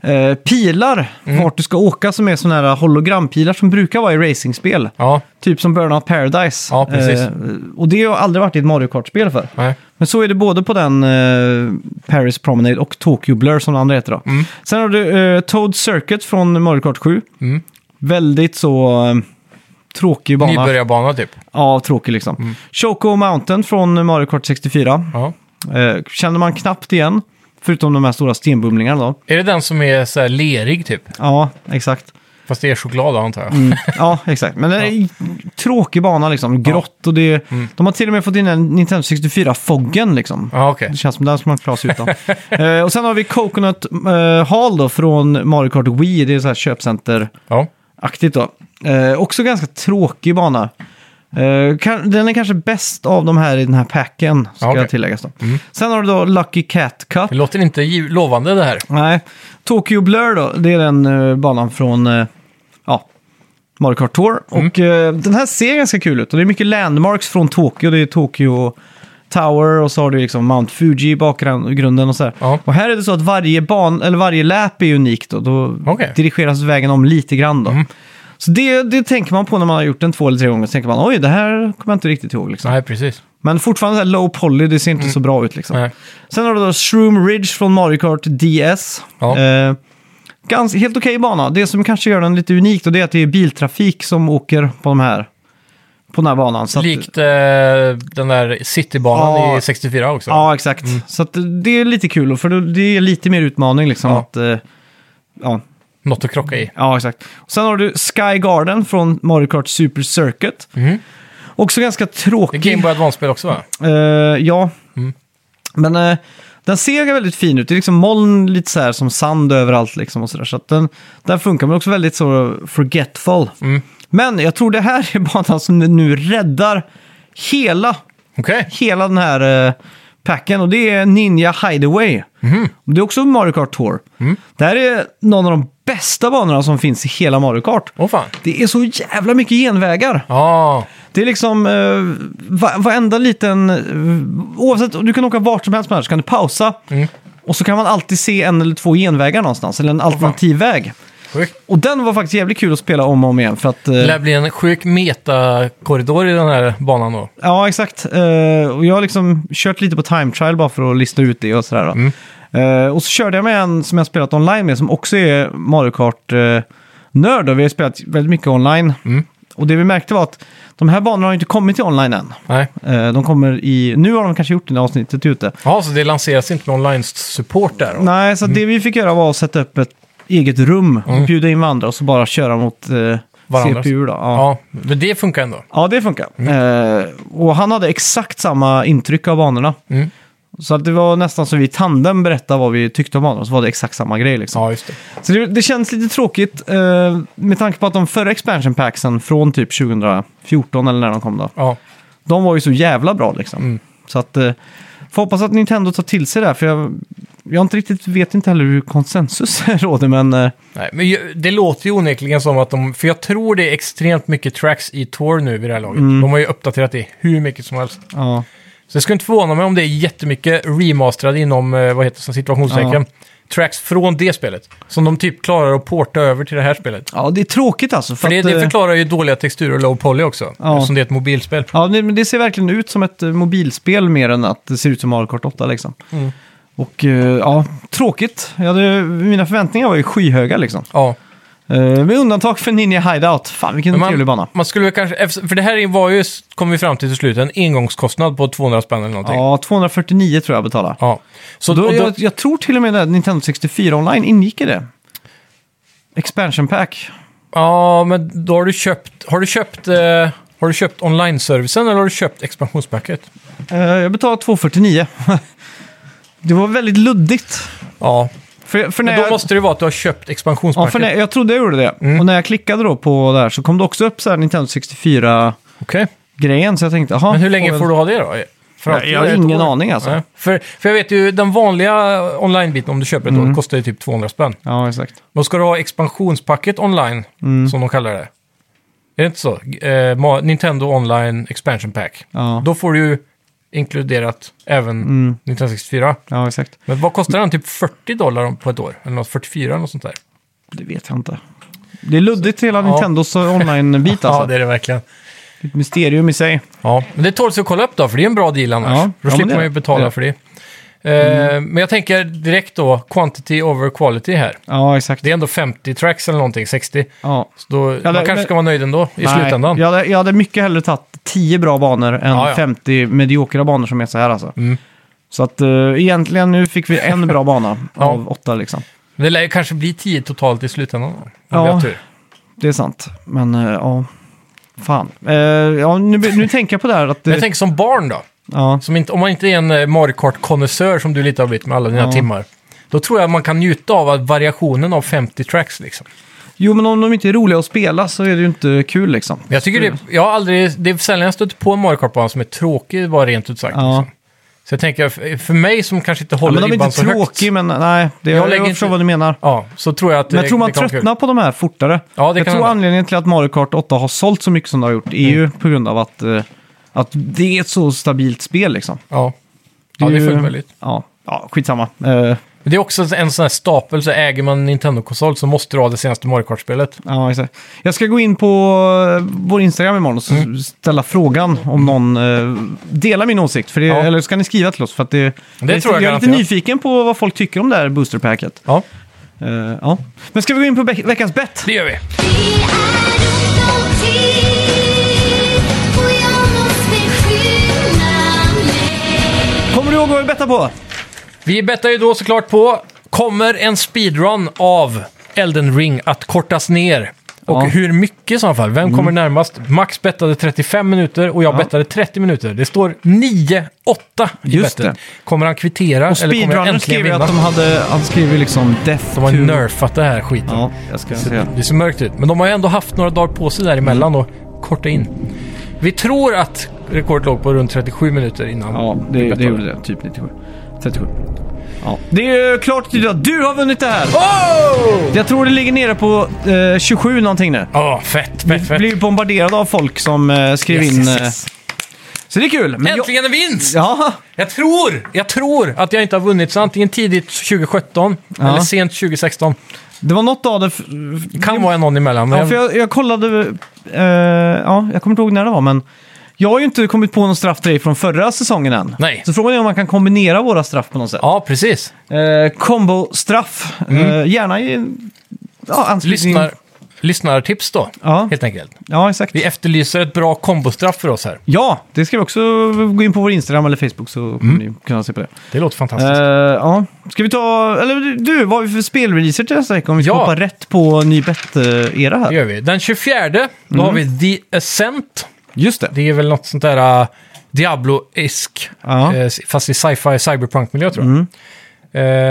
Speaker 2: eh, pilar
Speaker 3: Mm.
Speaker 2: vart du ska åka som är sådana här hologrampilar som brukar vara i racingspel.
Speaker 3: Ja,
Speaker 2: Typ som Burnout Paradise.
Speaker 3: Ja, precis.
Speaker 2: Eh, och det har aldrig varit i ett Mario Kart-spel för.
Speaker 3: nej.
Speaker 2: Men så är det både på den eh, Paris Promenade och Tokyo Blur som det andra heter då. Sen har du eh, Toad Circuit från Mario Kart 7.
Speaker 3: Mm.
Speaker 2: Väldigt så eh, tråkig bana.
Speaker 3: Nybörjarbana typ.
Speaker 2: Ja, tråkig liksom.
Speaker 3: Mm.
Speaker 2: Choco Mountain från Mario Kart 64.
Speaker 3: Ja.
Speaker 2: Eh, känner man knappt igen, förutom de här stora stenbumlingarna då.
Speaker 3: Är det den som är så här lerig typ?
Speaker 2: Ja, exakt.
Speaker 3: Fast det är choklad då, antar jag.
Speaker 2: Mm. Ja, exakt. Men det är en tråkig bana liksom. Grått och det...
Speaker 3: Mm.
Speaker 2: De har till och med fått in en Nintendo 64-foggen liksom.
Speaker 3: Ja, okej.
Speaker 2: Det känns som den som man klarar sig utan. eh, och sen har vi Coconut eh, Hall då från Mario Kart Wii. Det är så här köpcenter-aktigt
Speaker 3: Ja.
Speaker 2: då. Eh, också ganska tråkig bana. Eh, kan, den är kanske bäst av de här i den här packen, ska
Speaker 3: Ja, okej. Mm.
Speaker 2: jag tilläggas då. Sen har du då Lucky Cat Cup.
Speaker 3: Det låter inte giv- lovande det här.
Speaker 2: Nej. Tokyo Blur då, det är den eh, banan från eh, ja, Mario Kart Tour.
Speaker 3: Mm.
Speaker 2: Och eh, den här ser ganska kul ut och det är mycket landmarks från Tokyo. Det är Tokyo Tower och så har du liksom Mount Fuji i bakgrunden och så här.
Speaker 3: Ja.
Speaker 2: Och här är det så att varje ban, eller varje lap är unikt då. Då
Speaker 3: Okej. Mm.
Speaker 2: dirigeras vägen om lite grann då. Så det, det tänker man på när man har gjort den två eller tre gånger. Så tänker man oj, det här kommer jag inte riktigt ihåg. Liksom.
Speaker 3: Nej, Mm. precis.
Speaker 2: Men fortfarande så här low poly, det ser inte så bra ut liksom.
Speaker 3: Nej.
Speaker 2: Sen har du då Shroom Ridge från Mario Kart DS.
Speaker 3: Ja.
Speaker 2: Eh, ganska, helt okej bana. Det som kanske gör den lite unikt och det är att det är biltrafik som åker på, de här, på den här banan. Så att-
Speaker 3: Likt eh, den där citybanan
Speaker 2: Ja.
Speaker 3: i 64 också.
Speaker 2: Ja, exakt.
Speaker 3: Mm.
Speaker 2: Så att det är lite kul, för det är lite mer utmaning liksom.
Speaker 3: Ja.
Speaker 2: Att, eh, ja,
Speaker 3: Något att krocka i.
Speaker 2: ja, exakt. Och sen har du Sky Garden från Mario Kart Super Circuit.
Speaker 3: Mhm.
Speaker 2: Också ganska
Speaker 3: Det är
Speaker 2: tråkig.
Speaker 3: Game Boy Advance-spel också va?
Speaker 2: Eh, ja. Men eh, den ser ju väldigt fin ut. Det är liksom moln lite så här som sand överallt liksom och så där. Så att den, den funkar, men också väldigt så forgetful. Men jag tror det här är banan som nu räddar hela,
Speaker 3: Okej.
Speaker 2: hela den här eh, packen och det är Ninja Hideaway. Det är också Mario Kart Tour. Det här är någon av de bästa banorna som finns i hela Mario Kart.
Speaker 3: Åh fan.
Speaker 2: Det är så jävla mycket genvägar.
Speaker 3: Ja,
Speaker 2: Det är liksom eh, va- varenda liten... eh, Oavsett, du kan åka vart som helst med det här så kan du pausa.
Speaker 3: Mm.
Speaker 2: Och så kan man alltid se en eller två genvägar någonstans, eller en alternativ väg.
Speaker 3: sjukt.
Speaker 2: Och den var faktiskt jävligt kul att spela om och om igen för att... eh,
Speaker 3: Det lär bli en sjuk metakorridor i den här banan då.
Speaker 2: Ja, exakt. Eh, och jag har liksom kört lite på time trial bara för att lista ut det och sådär. Då. Eh, och så körde jag med en som jag spelat online med som också är Mario Kart-nörd. och vi har spelat väldigt mycket online. Och det vi märkte var att de här banorna har ju inte kommit till online än.
Speaker 3: Nej.
Speaker 2: Eh, de kommer i... Nu har de kanske gjort det när avsnittet är ute.
Speaker 3: Ja, så det lanseras inte med online-support där då?
Speaker 2: Nej, så det vi fick göra var att sätta upp ett eget rum och bjuda in varandra och så bara köra mot eh,
Speaker 3: Mm. Varandras.
Speaker 2: CPU. Då. Ja.
Speaker 3: Ja, Mm. men det funkar ändå.
Speaker 2: Ja, det funkar. Eh, och han hade exakt samma intryck av banorna.
Speaker 3: Mm.
Speaker 2: Så att det var nästan så vi i tandem berättade vad vi tyckte om banorna, så var det exakt samma grej. Liksom.
Speaker 3: Ja, just det.
Speaker 2: Så det, det känns lite tråkigt eh, med tanke på att de förra expansion packsen från typ 2014 eller när de kom då,
Speaker 3: Ja.
Speaker 2: de var ju så jävla bra liksom. Så att, eh, får hoppas att Nintendo tar till sig det här, för jag, jag har inte riktigt, vet inte heller hur konsensus råder, men eh,
Speaker 3: Nej, men ju- det låter ju onekligen som att de, för jag tror det är extremt mycket tracks i Tour nu vid det här laget.
Speaker 2: Mm.
Speaker 3: De har ju uppdaterat det hur mycket som helst.
Speaker 2: ja.
Speaker 3: Så det skulle inte förvåna mig om det är jättemycket remasterade inom, eh, vad heter det, som situationstecken, tracks från det spelet. Som de typ klarar att porta över till det här spelet.
Speaker 2: ja, det är tråkigt alltså.
Speaker 3: För det,
Speaker 2: att,
Speaker 3: det
Speaker 2: eh,
Speaker 3: förklarar ju dåliga texturer och low poly också,
Speaker 2: Ja.
Speaker 3: eftersom det är ett mobilspel.
Speaker 2: Ja, det, men det ser verkligen ut som ett eh, mobilspel mer än att det ser ut som Mario Kart 8 liksom. Och eh, ja, tråkigt. Jag hade, mina förväntningar var ju skyhöga liksom.
Speaker 3: Ja.
Speaker 2: Eh, Med undantag för Ninja Hideout. Fan vilken
Speaker 3: Men man-
Speaker 2: trevlig bana.
Speaker 3: Man skulle väl kanske, eftersom- för det här var ju, kom vi fram till till slut, en engångskostnad på 200 spänn eller någonting.
Speaker 2: Ja, 249 tror jag betalade.
Speaker 3: Ja. Så
Speaker 2: Då,
Speaker 3: och då,
Speaker 2: jag, jag tror till och med att Nintendo 64 online ingick i det. Expansion pack.
Speaker 3: ja, men då har du köpt, har du köpt, eh, har du köpt online-servicen eller har du köpt expansionspacket?
Speaker 2: Eh, Jag betalade 249. det var väldigt luddigt.
Speaker 3: Ja,
Speaker 2: För, för när
Speaker 3: men då
Speaker 2: jag...
Speaker 3: måste Mm. det vara att du har köpt
Speaker 2: Ja, för
Speaker 3: expansionspacket.
Speaker 2: när, jag trodde jag gjorde det. Och när jag klickade då på det här så kom det också upp så här Nintendo 64
Speaker 3: Okej.
Speaker 2: grejen. Så jag tänkte, jaha.
Speaker 3: Men hur länge får du ha det då? För
Speaker 2: Jag,
Speaker 3: alltid
Speaker 2: jag har
Speaker 3: ett
Speaker 2: ingen
Speaker 3: år?
Speaker 2: aning alltså.
Speaker 3: Nej. För, för jag vet ju, den vanliga online-biten om du köper ett
Speaker 2: Mm.
Speaker 3: år kostar ju typ 200 spänn.
Speaker 2: Ja, exakt.
Speaker 3: Då ska du ha expansionspacket online,
Speaker 2: Mm.
Speaker 3: som de kallar det. Är det inte så? Eh, Ma- Nintendo Online Expansion Pack.
Speaker 2: Ja, Mm.
Speaker 3: Då får du ju inkluderat även 1964.
Speaker 2: ja exakt.
Speaker 3: Men vad kostar den? Typ 40 dollar om- på ett år? Eller något, 44 eller något sånt där?
Speaker 2: Det vet jag inte. Det är luddigt hela
Speaker 3: Ja.
Speaker 2: Nintendos online-bit alltså.
Speaker 3: Ja, det är det verkligen.
Speaker 2: Ett mysterium i sig.
Speaker 3: Ja, men det tål sig att kolla upp då, för det är en bra deal annars.
Speaker 2: Ja, ja,
Speaker 3: då
Speaker 2: men
Speaker 3: slipper
Speaker 2: det är
Speaker 3: man ju
Speaker 2: det.
Speaker 3: betala
Speaker 2: Det är
Speaker 3: för det. Eh, Men jag tänker direkt då, quantity over quality här.
Speaker 2: Ja, exakt.
Speaker 3: Det är ändå 50 tracks eller någonting, 60.
Speaker 2: Ja.
Speaker 3: Så då, man kanske
Speaker 2: men-
Speaker 3: ska vara nöjd ändå i
Speaker 2: Nej,
Speaker 3: slutändan.
Speaker 2: Jag hade, jag hade mycket hellre tagit 10 bra banor än
Speaker 3: Ja, Mm. ja.
Speaker 2: 50 mediokra banor som är så här alltså. Så att eh, egentligen nu fick vi en bra bana
Speaker 3: Ja.
Speaker 2: av åtta liksom.
Speaker 3: Men Det lär ju kanske bli 10 totalt i slutändan. Om
Speaker 2: Ja.
Speaker 3: vi har tur.
Speaker 2: Det är sant. Men eh, ja, fan. Eh, ja, nu, nu tänker jag på det här att...
Speaker 3: Men
Speaker 2: eh,
Speaker 3: jag tänker som barn då.
Speaker 2: ja.
Speaker 3: Som inte, om man inte är en eh, Mario Kart-konnässör som du lite har blivit med alla dina
Speaker 2: Ja.
Speaker 3: timmar. Då tror jag man kan njuta av att variationen av 50 tracks liksom.
Speaker 2: Jo, men om de inte är roliga att spela så är det ju inte kul liksom.
Speaker 3: Men jag tycker det, jag har aldrig, det är sällan jag stött på en Mario Kart-bana som är tråkig, bara rent ut sagt.
Speaker 2: Ja.
Speaker 3: Liksom. Så jag tänker, för- för mig som kanske inte
Speaker 2: Ja,
Speaker 3: håller
Speaker 2: men de är
Speaker 3: ribban
Speaker 2: inte
Speaker 3: så högt.
Speaker 2: tråkiga, men nej. Det,
Speaker 3: Jag
Speaker 2: jag,
Speaker 3: lägger
Speaker 2: jag
Speaker 3: inte-
Speaker 2: förstår vad du menar.
Speaker 3: Ja, så tror jag att
Speaker 2: Men
Speaker 3: det-
Speaker 2: jag tror man
Speaker 3: det kan vara kul.
Speaker 2: tröttnar på de här fortare.
Speaker 3: Ja, det
Speaker 2: jag tror
Speaker 3: kan hända. Mm.
Speaker 2: anledningen till att Mario Kart 8 har sålt så mycket som det har gjort är ju på grund av att, eh, att det är ett så stabilt spel liksom.
Speaker 3: Ja, ja det
Speaker 2: ju-
Speaker 3: är fullt möjligt.
Speaker 2: Ja, ja skitsamma. Eh,
Speaker 3: Men det är också en sån här stapel, så äger man en Nintendo-konsol så måste du ha det senaste Mario Kart-spelet.
Speaker 2: ja, exakt. Jag ska gå in på eh, vår Instagram imorgon och s-
Speaker 3: Mm.
Speaker 2: ställa frågan om någon eh, delar min åsikt. För det,
Speaker 3: Ja.
Speaker 2: Eller ska ni skriva till oss? För att det,
Speaker 3: tror jag
Speaker 2: jag är lite
Speaker 3: garanterat.
Speaker 2: nyfiken på vad folk tycker om det här boosterpacket.
Speaker 3: Ja,
Speaker 2: Eh, ja. Men ska vi gå in på veck- veckans bett?
Speaker 3: det gör vi.
Speaker 1: Det är ont om tid och jag måste skynda mig
Speaker 2: Kommer du ihåg vad vi bettade på?
Speaker 3: Vi bettar ju då såklart på, kommer en speedrun av Elden Ring att kortas ner? Och
Speaker 2: Ja. Mm.
Speaker 3: hur mycket i så fall? Vem kommer närmast? Max bettade 35 minuter och jag bettade 30 minuter. Det står 9-8 i
Speaker 2: Just
Speaker 3: bettet.
Speaker 2: det.
Speaker 3: Kommer han kvittera
Speaker 2: Och
Speaker 3: eller kommer jag
Speaker 2: speedrunnern
Speaker 3: äntligen
Speaker 2: skrev ju
Speaker 3: vinna?
Speaker 2: att de hade, han skrev ju liksom Death
Speaker 3: De har
Speaker 2: to...
Speaker 3: nerfat det här skiten.
Speaker 2: Ja, jag Mm. ska se.
Speaker 3: Det ser mörkt ut. Men de har ju ändå haft några dagar på sig däremellan och korta in. Vi tror att rekordet låg på runt 37 minuter innan.
Speaker 2: Ja, det, det gjorde det. Typ 97. 37. Ja. Det är ju klart idag. Du har vunnit det här!
Speaker 3: Oh!
Speaker 2: Jag tror det ligger nere på eh, 27 någonting nu.
Speaker 3: Ja, fett, fett,
Speaker 2: Vi
Speaker 3: fett.
Speaker 2: blir bombarderad av folk som eh, skrev
Speaker 3: Yes,
Speaker 2: in.
Speaker 3: yes,
Speaker 2: eh,
Speaker 3: yes.
Speaker 2: Så det är kul. Men jag-
Speaker 3: Äntligen en vinst!
Speaker 2: Ja,
Speaker 3: Jag tror, jag tror att jag inte har vunnit så antingen tidigt 2017
Speaker 2: Ja.
Speaker 3: eller sent 2016.
Speaker 2: det var något av det. f-
Speaker 3: Det kan vara någon emellan. Men
Speaker 2: Ja, för jag, jag kollade, eh, ja, jag kommer inte ihåg när det var, men jag har ju inte kommit på någon straff till dig från förra säsongen än.
Speaker 3: Nej.
Speaker 2: Så frågan är om man kan kombinera våra straff på något sätt.
Speaker 3: ja precis.
Speaker 2: Eh, Combo-straff, eh, gärna i... Ja, anslutning.
Speaker 3: Mm. Lyssnar, lyssnartips då,
Speaker 2: Ja.
Speaker 3: helt enkelt.
Speaker 2: Ja, exakt.
Speaker 3: Vi efterlyser ett bra kombostraff för oss här.
Speaker 2: Ja, det ska vi också gå in på vår Instagram eller Facebook så kommer
Speaker 3: Mm.
Speaker 2: ni kunna se på det.
Speaker 3: Det låter fantastiskt.
Speaker 2: Eh, ja. Ska vi ta, eller du- du, vad har vi för spelreleaser till nästa vecka om vi ska
Speaker 3: Ja.
Speaker 2: hoppa rätt på ny bett-era
Speaker 3: det
Speaker 2: här?
Speaker 3: gör vi. Den 24, då har
Speaker 2: Mm.
Speaker 3: vi The Ascent.
Speaker 2: Just det.
Speaker 3: Det är väl något sånt där äh, Diablo-isk,
Speaker 2: Ja.
Speaker 3: eh, fast i sci-fi cyberpunk-miljö tror jag.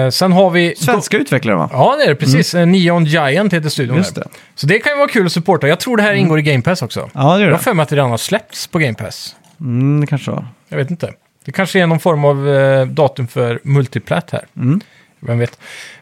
Speaker 3: Eh, sen har vi...
Speaker 2: Mm. Svenska utvecklare va?
Speaker 3: Ja, det är det. Precis. Mm. Neon Giant heter studion.
Speaker 2: Just
Speaker 3: där.
Speaker 2: det. Mm.
Speaker 3: Så det kan ju vara kul att supporta. Jag tror det här ingår i Game Pass också.
Speaker 2: Ja, det gör
Speaker 3: Jag har
Speaker 2: det.
Speaker 3: för mig att det redan har släppts på Game Pass.
Speaker 2: Mm, det kanske var.
Speaker 3: Jag vet inte. Det kanske är någon form av eh, datum för multiplat här.
Speaker 2: Mm.
Speaker 3: Vem vet.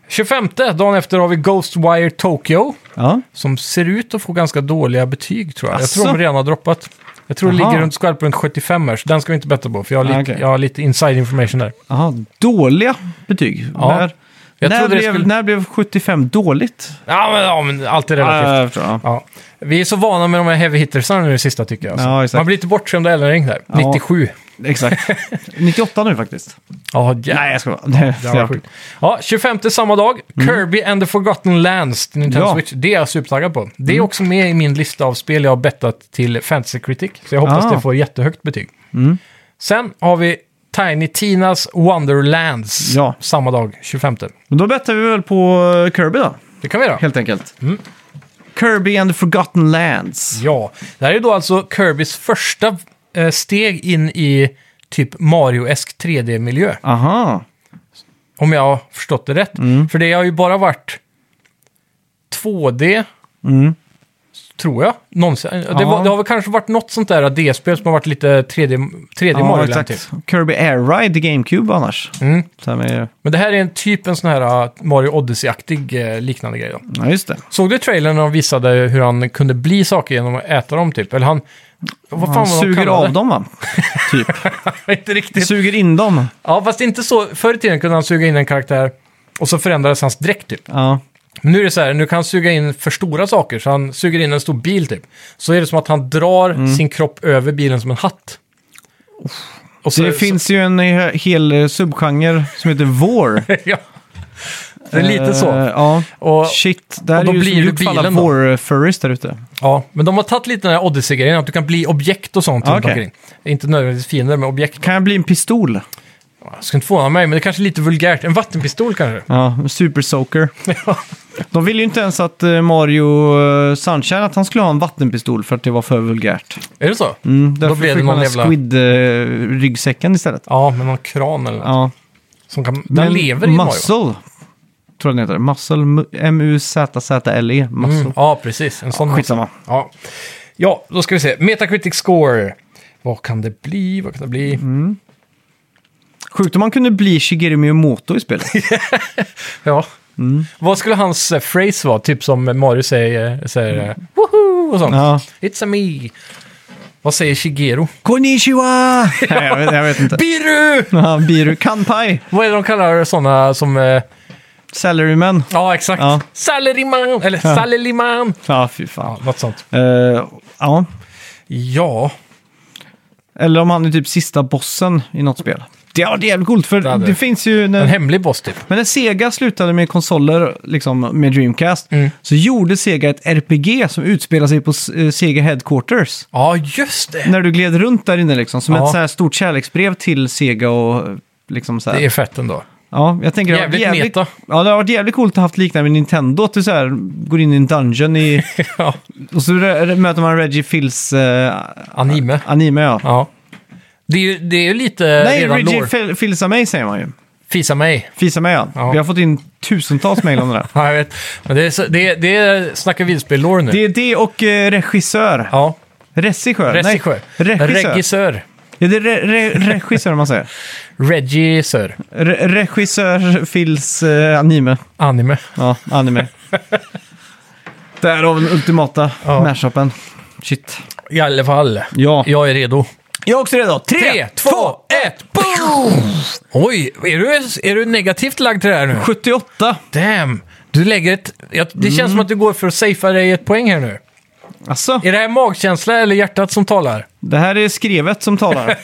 Speaker 3: 25, dagen efter har vi Ghostwire Tokyo.
Speaker 2: Ja.
Speaker 3: Som ser ut att få ganska dåliga betyg tror jag. Jag
Speaker 2: Asså?
Speaker 3: tror de redan har droppat. Jag tror det
Speaker 2: Jaha.
Speaker 3: ligger runt skvalp runt 75 här, så den ska vi inte betta på. För jag har lite,
Speaker 2: Ah, okej.
Speaker 3: jag har lite inside information där.
Speaker 2: Aha, dåliga betyg.
Speaker 3: Ja.
Speaker 2: När,
Speaker 3: Jag
Speaker 2: när,
Speaker 3: trodde det
Speaker 2: blev,
Speaker 3: skulle-
Speaker 2: när blev 75 dåligt?
Speaker 3: Ja, men, ja, men allt är relativt.
Speaker 2: Ja, jag förstår, ja.
Speaker 3: Ja. Vi är så vana med de här heavy hittersarna nu i sista tycker jag. alltså.
Speaker 2: Ja, exakt.
Speaker 3: Man blir lite bortskämd av Ellenring där.
Speaker 2: Ja.
Speaker 3: 97.
Speaker 2: Exakt. 98 nu faktiskt.
Speaker 3: Ja, jävlar.
Speaker 2: Nej, jag ska vara. Det
Speaker 3: Det var
Speaker 2: är
Speaker 3: sjukt. Ja, 25 samma dag, Kirby and the Forgotten Lands till Nintendo
Speaker 2: Mm. Ja. Mm.
Speaker 3: Switch. Det är jag supertaggad på. Det är också med i min lista av spel jag har bettat till Fantasy Critic. Så jag hoppas
Speaker 2: Ah. Mm.
Speaker 3: det får jättehögt betyg. Sen har vi Tiny Tinas Wonderlands
Speaker 2: Ja.
Speaker 3: samma dag, 25.
Speaker 2: Men då bettar vi väl på eh, Kirby då,
Speaker 3: Det kan vi göra.
Speaker 2: helt enkelt.
Speaker 3: Mm.
Speaker 2: Kirby and the Forgotten Lands.
Speaker 3: Ja, det här är då alltså Kirbys första eh, steg in i typ Mario-esk 3D-miljö.
Speaker 2: Aha.
Speaker 3: Om jag har förstått det rätt.
Speaker 2: Mm.
Speaker 3: För det har ju bara varit 2D,
Speaker 2: Mm.
Speaker 3: tror jag. Någonsin. Det, var, det har väl kanske varit något sånt där DS-spel som har varit lite 3D, 3D
Speaker 2: Ja,
Speaker 3: Mario-land typ.
Speaker 2: exakt. Kirby Air Ride i GameCube annars.
Speaker 3: Mm.
Speaker 2: Så här med,
Speaker 3: Men det här är en typ en sån här uh, Mario Odyssey-aktig eh, liknande grej. Då.
Speaker 2: ja, just det.
Speaker 3: Såg du trailern när de visade hur han kunde bli saker genom att äta dem typ? Eller han... Vad
Speaker 2: Han
Speaker 3: fan var de
Speaker 2: suger
Speaker 3: kallade?
Speaker 2: av dem va? Typ.
Speaker 3: Inte riktigt.
Speaker 2: suger in dem.
Speaker 3: Ja, fast inte så. Förr i tiden kunde han suga in en karaktär och så förändrades hans dräkt typ.
Speaker 2: Ja.
Speaker 3: Men nu är det så här, nu kan han suga in för stora saker, så han suger in en stor bil typ. Så är det som att han drar
Speaker 2: Mm.
Speaker 3: sin kropp över bilen som en hatt. Och
Speaker 2: Det finns ju en he- hel eh, subgenre som heter Vår.
Speaker 3: Så, ja. Det är lite
Speaker 2: Eh,
Speaker 3: så.
Speaker 2: Ja.
Speaker 3: Och,
Speaker 2: Shit, där
Speaker 3: och då
Speaker 2: är ju
Speaker 3: blir
Speaker 2: så
Speaker 3: du
Speaker 2: djupt för alla
Speaker 3: bilen då.
Speaker 2: Vår-furries där ute.
Speaker 3: ja, men de har tagit lite den här Odyssey-grejen, att du kan bli objekt och sånt.
Speaker 2: Ja,
Speaker 3: runt
Speaker 2: okej.
Speaker 3: omkring. Inte nödvändigtvis fiender, men objekt.
Speaker 2: Kan jag bli en pistol?
Speaker 3: Jag ska inte förvåna mig, men det kanske är lite vulgärt. En vattenpistol kanske?
Speaker 2: Ja, en super soaker. De ville ju inte ens att eh, Mario eh, Sunshine, att han skulle ha en vattenpistol för att det var för vulgärt.
Speaker 3: Är det så?
Speaker 2: Mm, därför
Speaker 3: blev det
Speaker 2: fick man
Speaker 3: någon
Speaker 2: den
Speaker 3: jävla-
Speaker 2: Squid-ryggsäcken istället.
Speaker 3: Ja, med någon kran eller något.
Speaker 2: Ja.
Speaker 3: Som kan, den lever i Mario.
Speaker 2: Muscle, tror jag den heter. Muscle, M- M-U-Z-Z-L-E. E, Muscle.
Speaker 3: Mm, ja, precis. En sån
Speaker 2: Ja, skitsamma.
Speaker 3: Ja. ja, då ska vi se. Metacritic score. Vad kan det bli? Vad kan det bli?
Speaker 2: Mm. Sjukt om man kunde bli Shigeru Miyamoto i spelet.
Speaker 3: Ja.
Speaker 2: Mm.
Speaker 3: Vad skulle hans eh, phrase vara? Typ som Mario säger, säger eh, woho och sånt.
Speaker 2: Mm. ja.
Speaker 3: It's a me. Vad säger Shigeru?
Speaker 2: Konnichiwa! Nej, jag, vet, jag vet inte.
Speaker 3: Biru!
Speaker 2: Ja, Biru Kanpai,
Speaker 3: Vad är det de kallar sådana som... eh,
Speaker 2: Salaryman.
Speaker 3: Ja, exakt.
Speaker 2: Ja.
Speaker 3: Salaryman! Eller salaryman!
Speaker 2: Ja, fy fan.
Speaker 3: Ja, något sånt.
Speaker 2: Eh, ja.
Speaker 3: Ja,
Speaker 2: Eller om han är typ sista bossen i något spel. Det hade varit jävligt coolt, för
Speaker 3: Det
Speaker 2: det,
Speaker 3: hade det.
Speaker 2: finns ju...
Speaker 3: en
Speaker 2: När,
Speaker 3: hemlig boss typ.
Speaker 2: men när Sega slutade med konsoler, liksom med Dreamcast,
Speaker 3: Mm.
Speaker 2: så gjorde Sega ett RPG som utspelar sig på eh, Sega Headquarters.
Speaker 3: Ja, just det!
Speaker 2: När du gled runt där inne liksom, som
Speaker 3: Ja.
Speaker 2: ett så här stort kärleksbrev till Sega och eh, liksom så här.
Speaker 3: Det är fett ändå.
Speaker 2: Ja, jag tänker det har varit
Speaker 3: Jävligt meta.
Speaker 2: Ja, det har varit jävligt coolt att ha haft liknande med Nintendo. Att du så här går in i en dungeon i,
Speaker 3: Ja,
Speaker 2: och så re- re- möter man Reggie Phils eh,
Speaker 3: anime.
Speaker 2: anime. Ja.
Speaker 3: Ja. Det är ju, det är ju lite
Speaker 2: Nej,
Speaker 3: redan
Speaker 2: Reggie
Speaker 3: lore.
Speaker 2: Phil- Phils mig säger man ju.
Speaker 3: Fisa mig.
Speaker 2: Fisa med ja.
Speaker 3: Ja.
Speaker 2: Vi har fått in tusentals mejl om det där.
Speaker 3: Ja, jag vet. Men det är, så- det är, det är snacka vidspel-lore nu.
Speaker 2: Det är det och eh, regissör.
Speaker 3: Ja.
Speaker 2: Regissör? nej.
Speaker 3: Regissör.
Speaker 2: Regissör.
Speaker 3: Regissör.
Speaker 2: Är det re, re, regissör man säger?
Speaker 3: Regissör.
Speaker 2: Re, regissör Phils eh, anime.
Speaker 3: Anime.
Speaker 2: Ja, anime. Därav den ultimata
Speaker 3: Ja.
Speaker 2: mashupen. Shit.
Speaker 3: I alla fall.
Speaker 2: Ja.
Speaker 3: Jag är redo.
Speaker 2: Jag är också redo. Tre,
Speaker 3: Tre, två, ett, boom! Oj, är du, är du negativt lagd till det här nu?
Speaker 2: 78.
Speaker 3: Damn! Du lägger ett... Jag, det känns som att du går för att safea dig ett poäng här nu.
Speaker 2: Alltså,
Speaker 3: Är det här magkänsla eller hjärtat som talar?
Speaker 2: det här är skrevet som talar.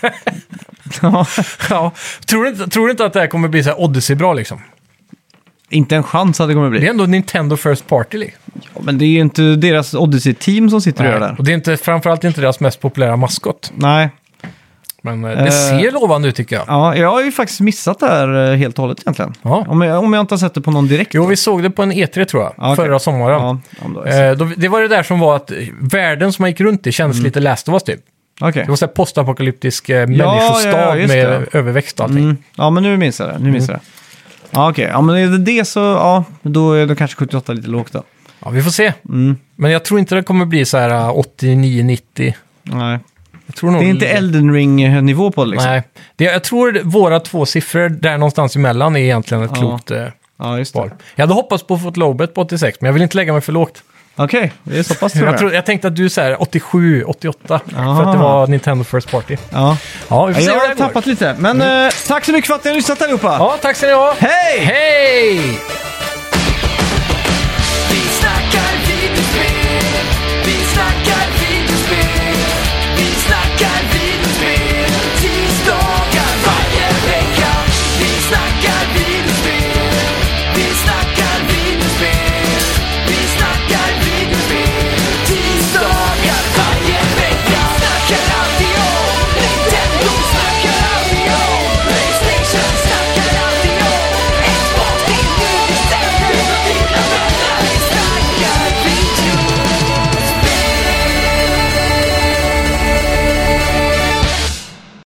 Speaker 2: ja,
Speaker 3: Ja. Tror du, inte- tror du inte att det här kommer bli så här Odyssey-bra liksom?
Speaker 2: inte en chans att det kommer
Speaker 3: Det är
Speaker 2: bli.
Speaker 3: ändå Nintendo First Party. liksom.
Speaker 2: Ja, Men det är ju inte deras Odyssey-team som sitter och gör det här.
Speaker 3: Och det är inte, framförallt inte deras mest populära maskot.
Speaker 2: Nej.
Speaker 3: Men eh, det
Speaker 2: Eh.
Speaker 3: ser lovande ut tycker jag.
Speaker 2: Ja, jag har ju faktiskt missat det här eh, helt och hållet egentligen.
Speaker 3: Ja.
Speaker 2: Om, jag, om jag inte har sett det på någon direkt.
Speaker 3: Jo, vi såg det på en E3 tror jag,
Speaker 2: Ja, okej.
Speaker 3: förra sommaren.
Speaker 2: Ja, om det var-
Speaker 3: Eh, då, det var det där som var att eh, världen som man gick runt i kändes lite Last of Us typ.
Speaker 2: Okej.
Speaker 3: Det var så här postapokalyptisk eh, människostad
Speaker 2: Mm. ja, just
Speaker 3: med
Speaker 2: det.
Speaker 3: överväxt och allting.
Speaker 2: Mm. Ja, men nu minns jag det. Nu minns jag det. Ja, okej. Ja, men är det det så, ja, då är det kanske 78 lite lågt då.
Speaker 3: Ja, vi får se.
Speaker 2: Mm.
Speaker 3: Men jag tror inte det kommer bli så här eh, 89-90.
Speaker 2: Nej.
Speaker 3: Jag tror nog
Speaker 2: Det är inte Elden Ring-nivå på det liksom.
Speaker 3: Nej, det, jag tror våra två siffror där någonstans emellan är egentligen ett
Speaker 2: Ja.
Speaker 3: klokt eh,
Speaker 2: Ja, just det.
Speaker 3: val. Jag hade hoppats på att få ett lowbet på 86, men jag vill inte lägga mig för lågt.
Speaker 2: Okej, det är så pass tror jag.
Speaker 3: Jag, tror, jag tänkte att du säger 87, 88, för
Speaker 2: Aha.
Speaker 3: att det var Nintendo First Party.
Speaker 2: Ja.
Speaker 3: Ja, vi får se
Speaker 2: Jag
Speaker 3: hur
Speaker 2: har
Speaker 3: det här går. Mm.
Speaker 2: tappat lite, men eh, tack så mycket för att ni har lyssnat allihopa!
Speaker 3: Ja, tack ska ni ha.
Speaker 2: Hej!
Speaker 3: Hej!
Speaker 4: Vi snackar videospel, vi snackar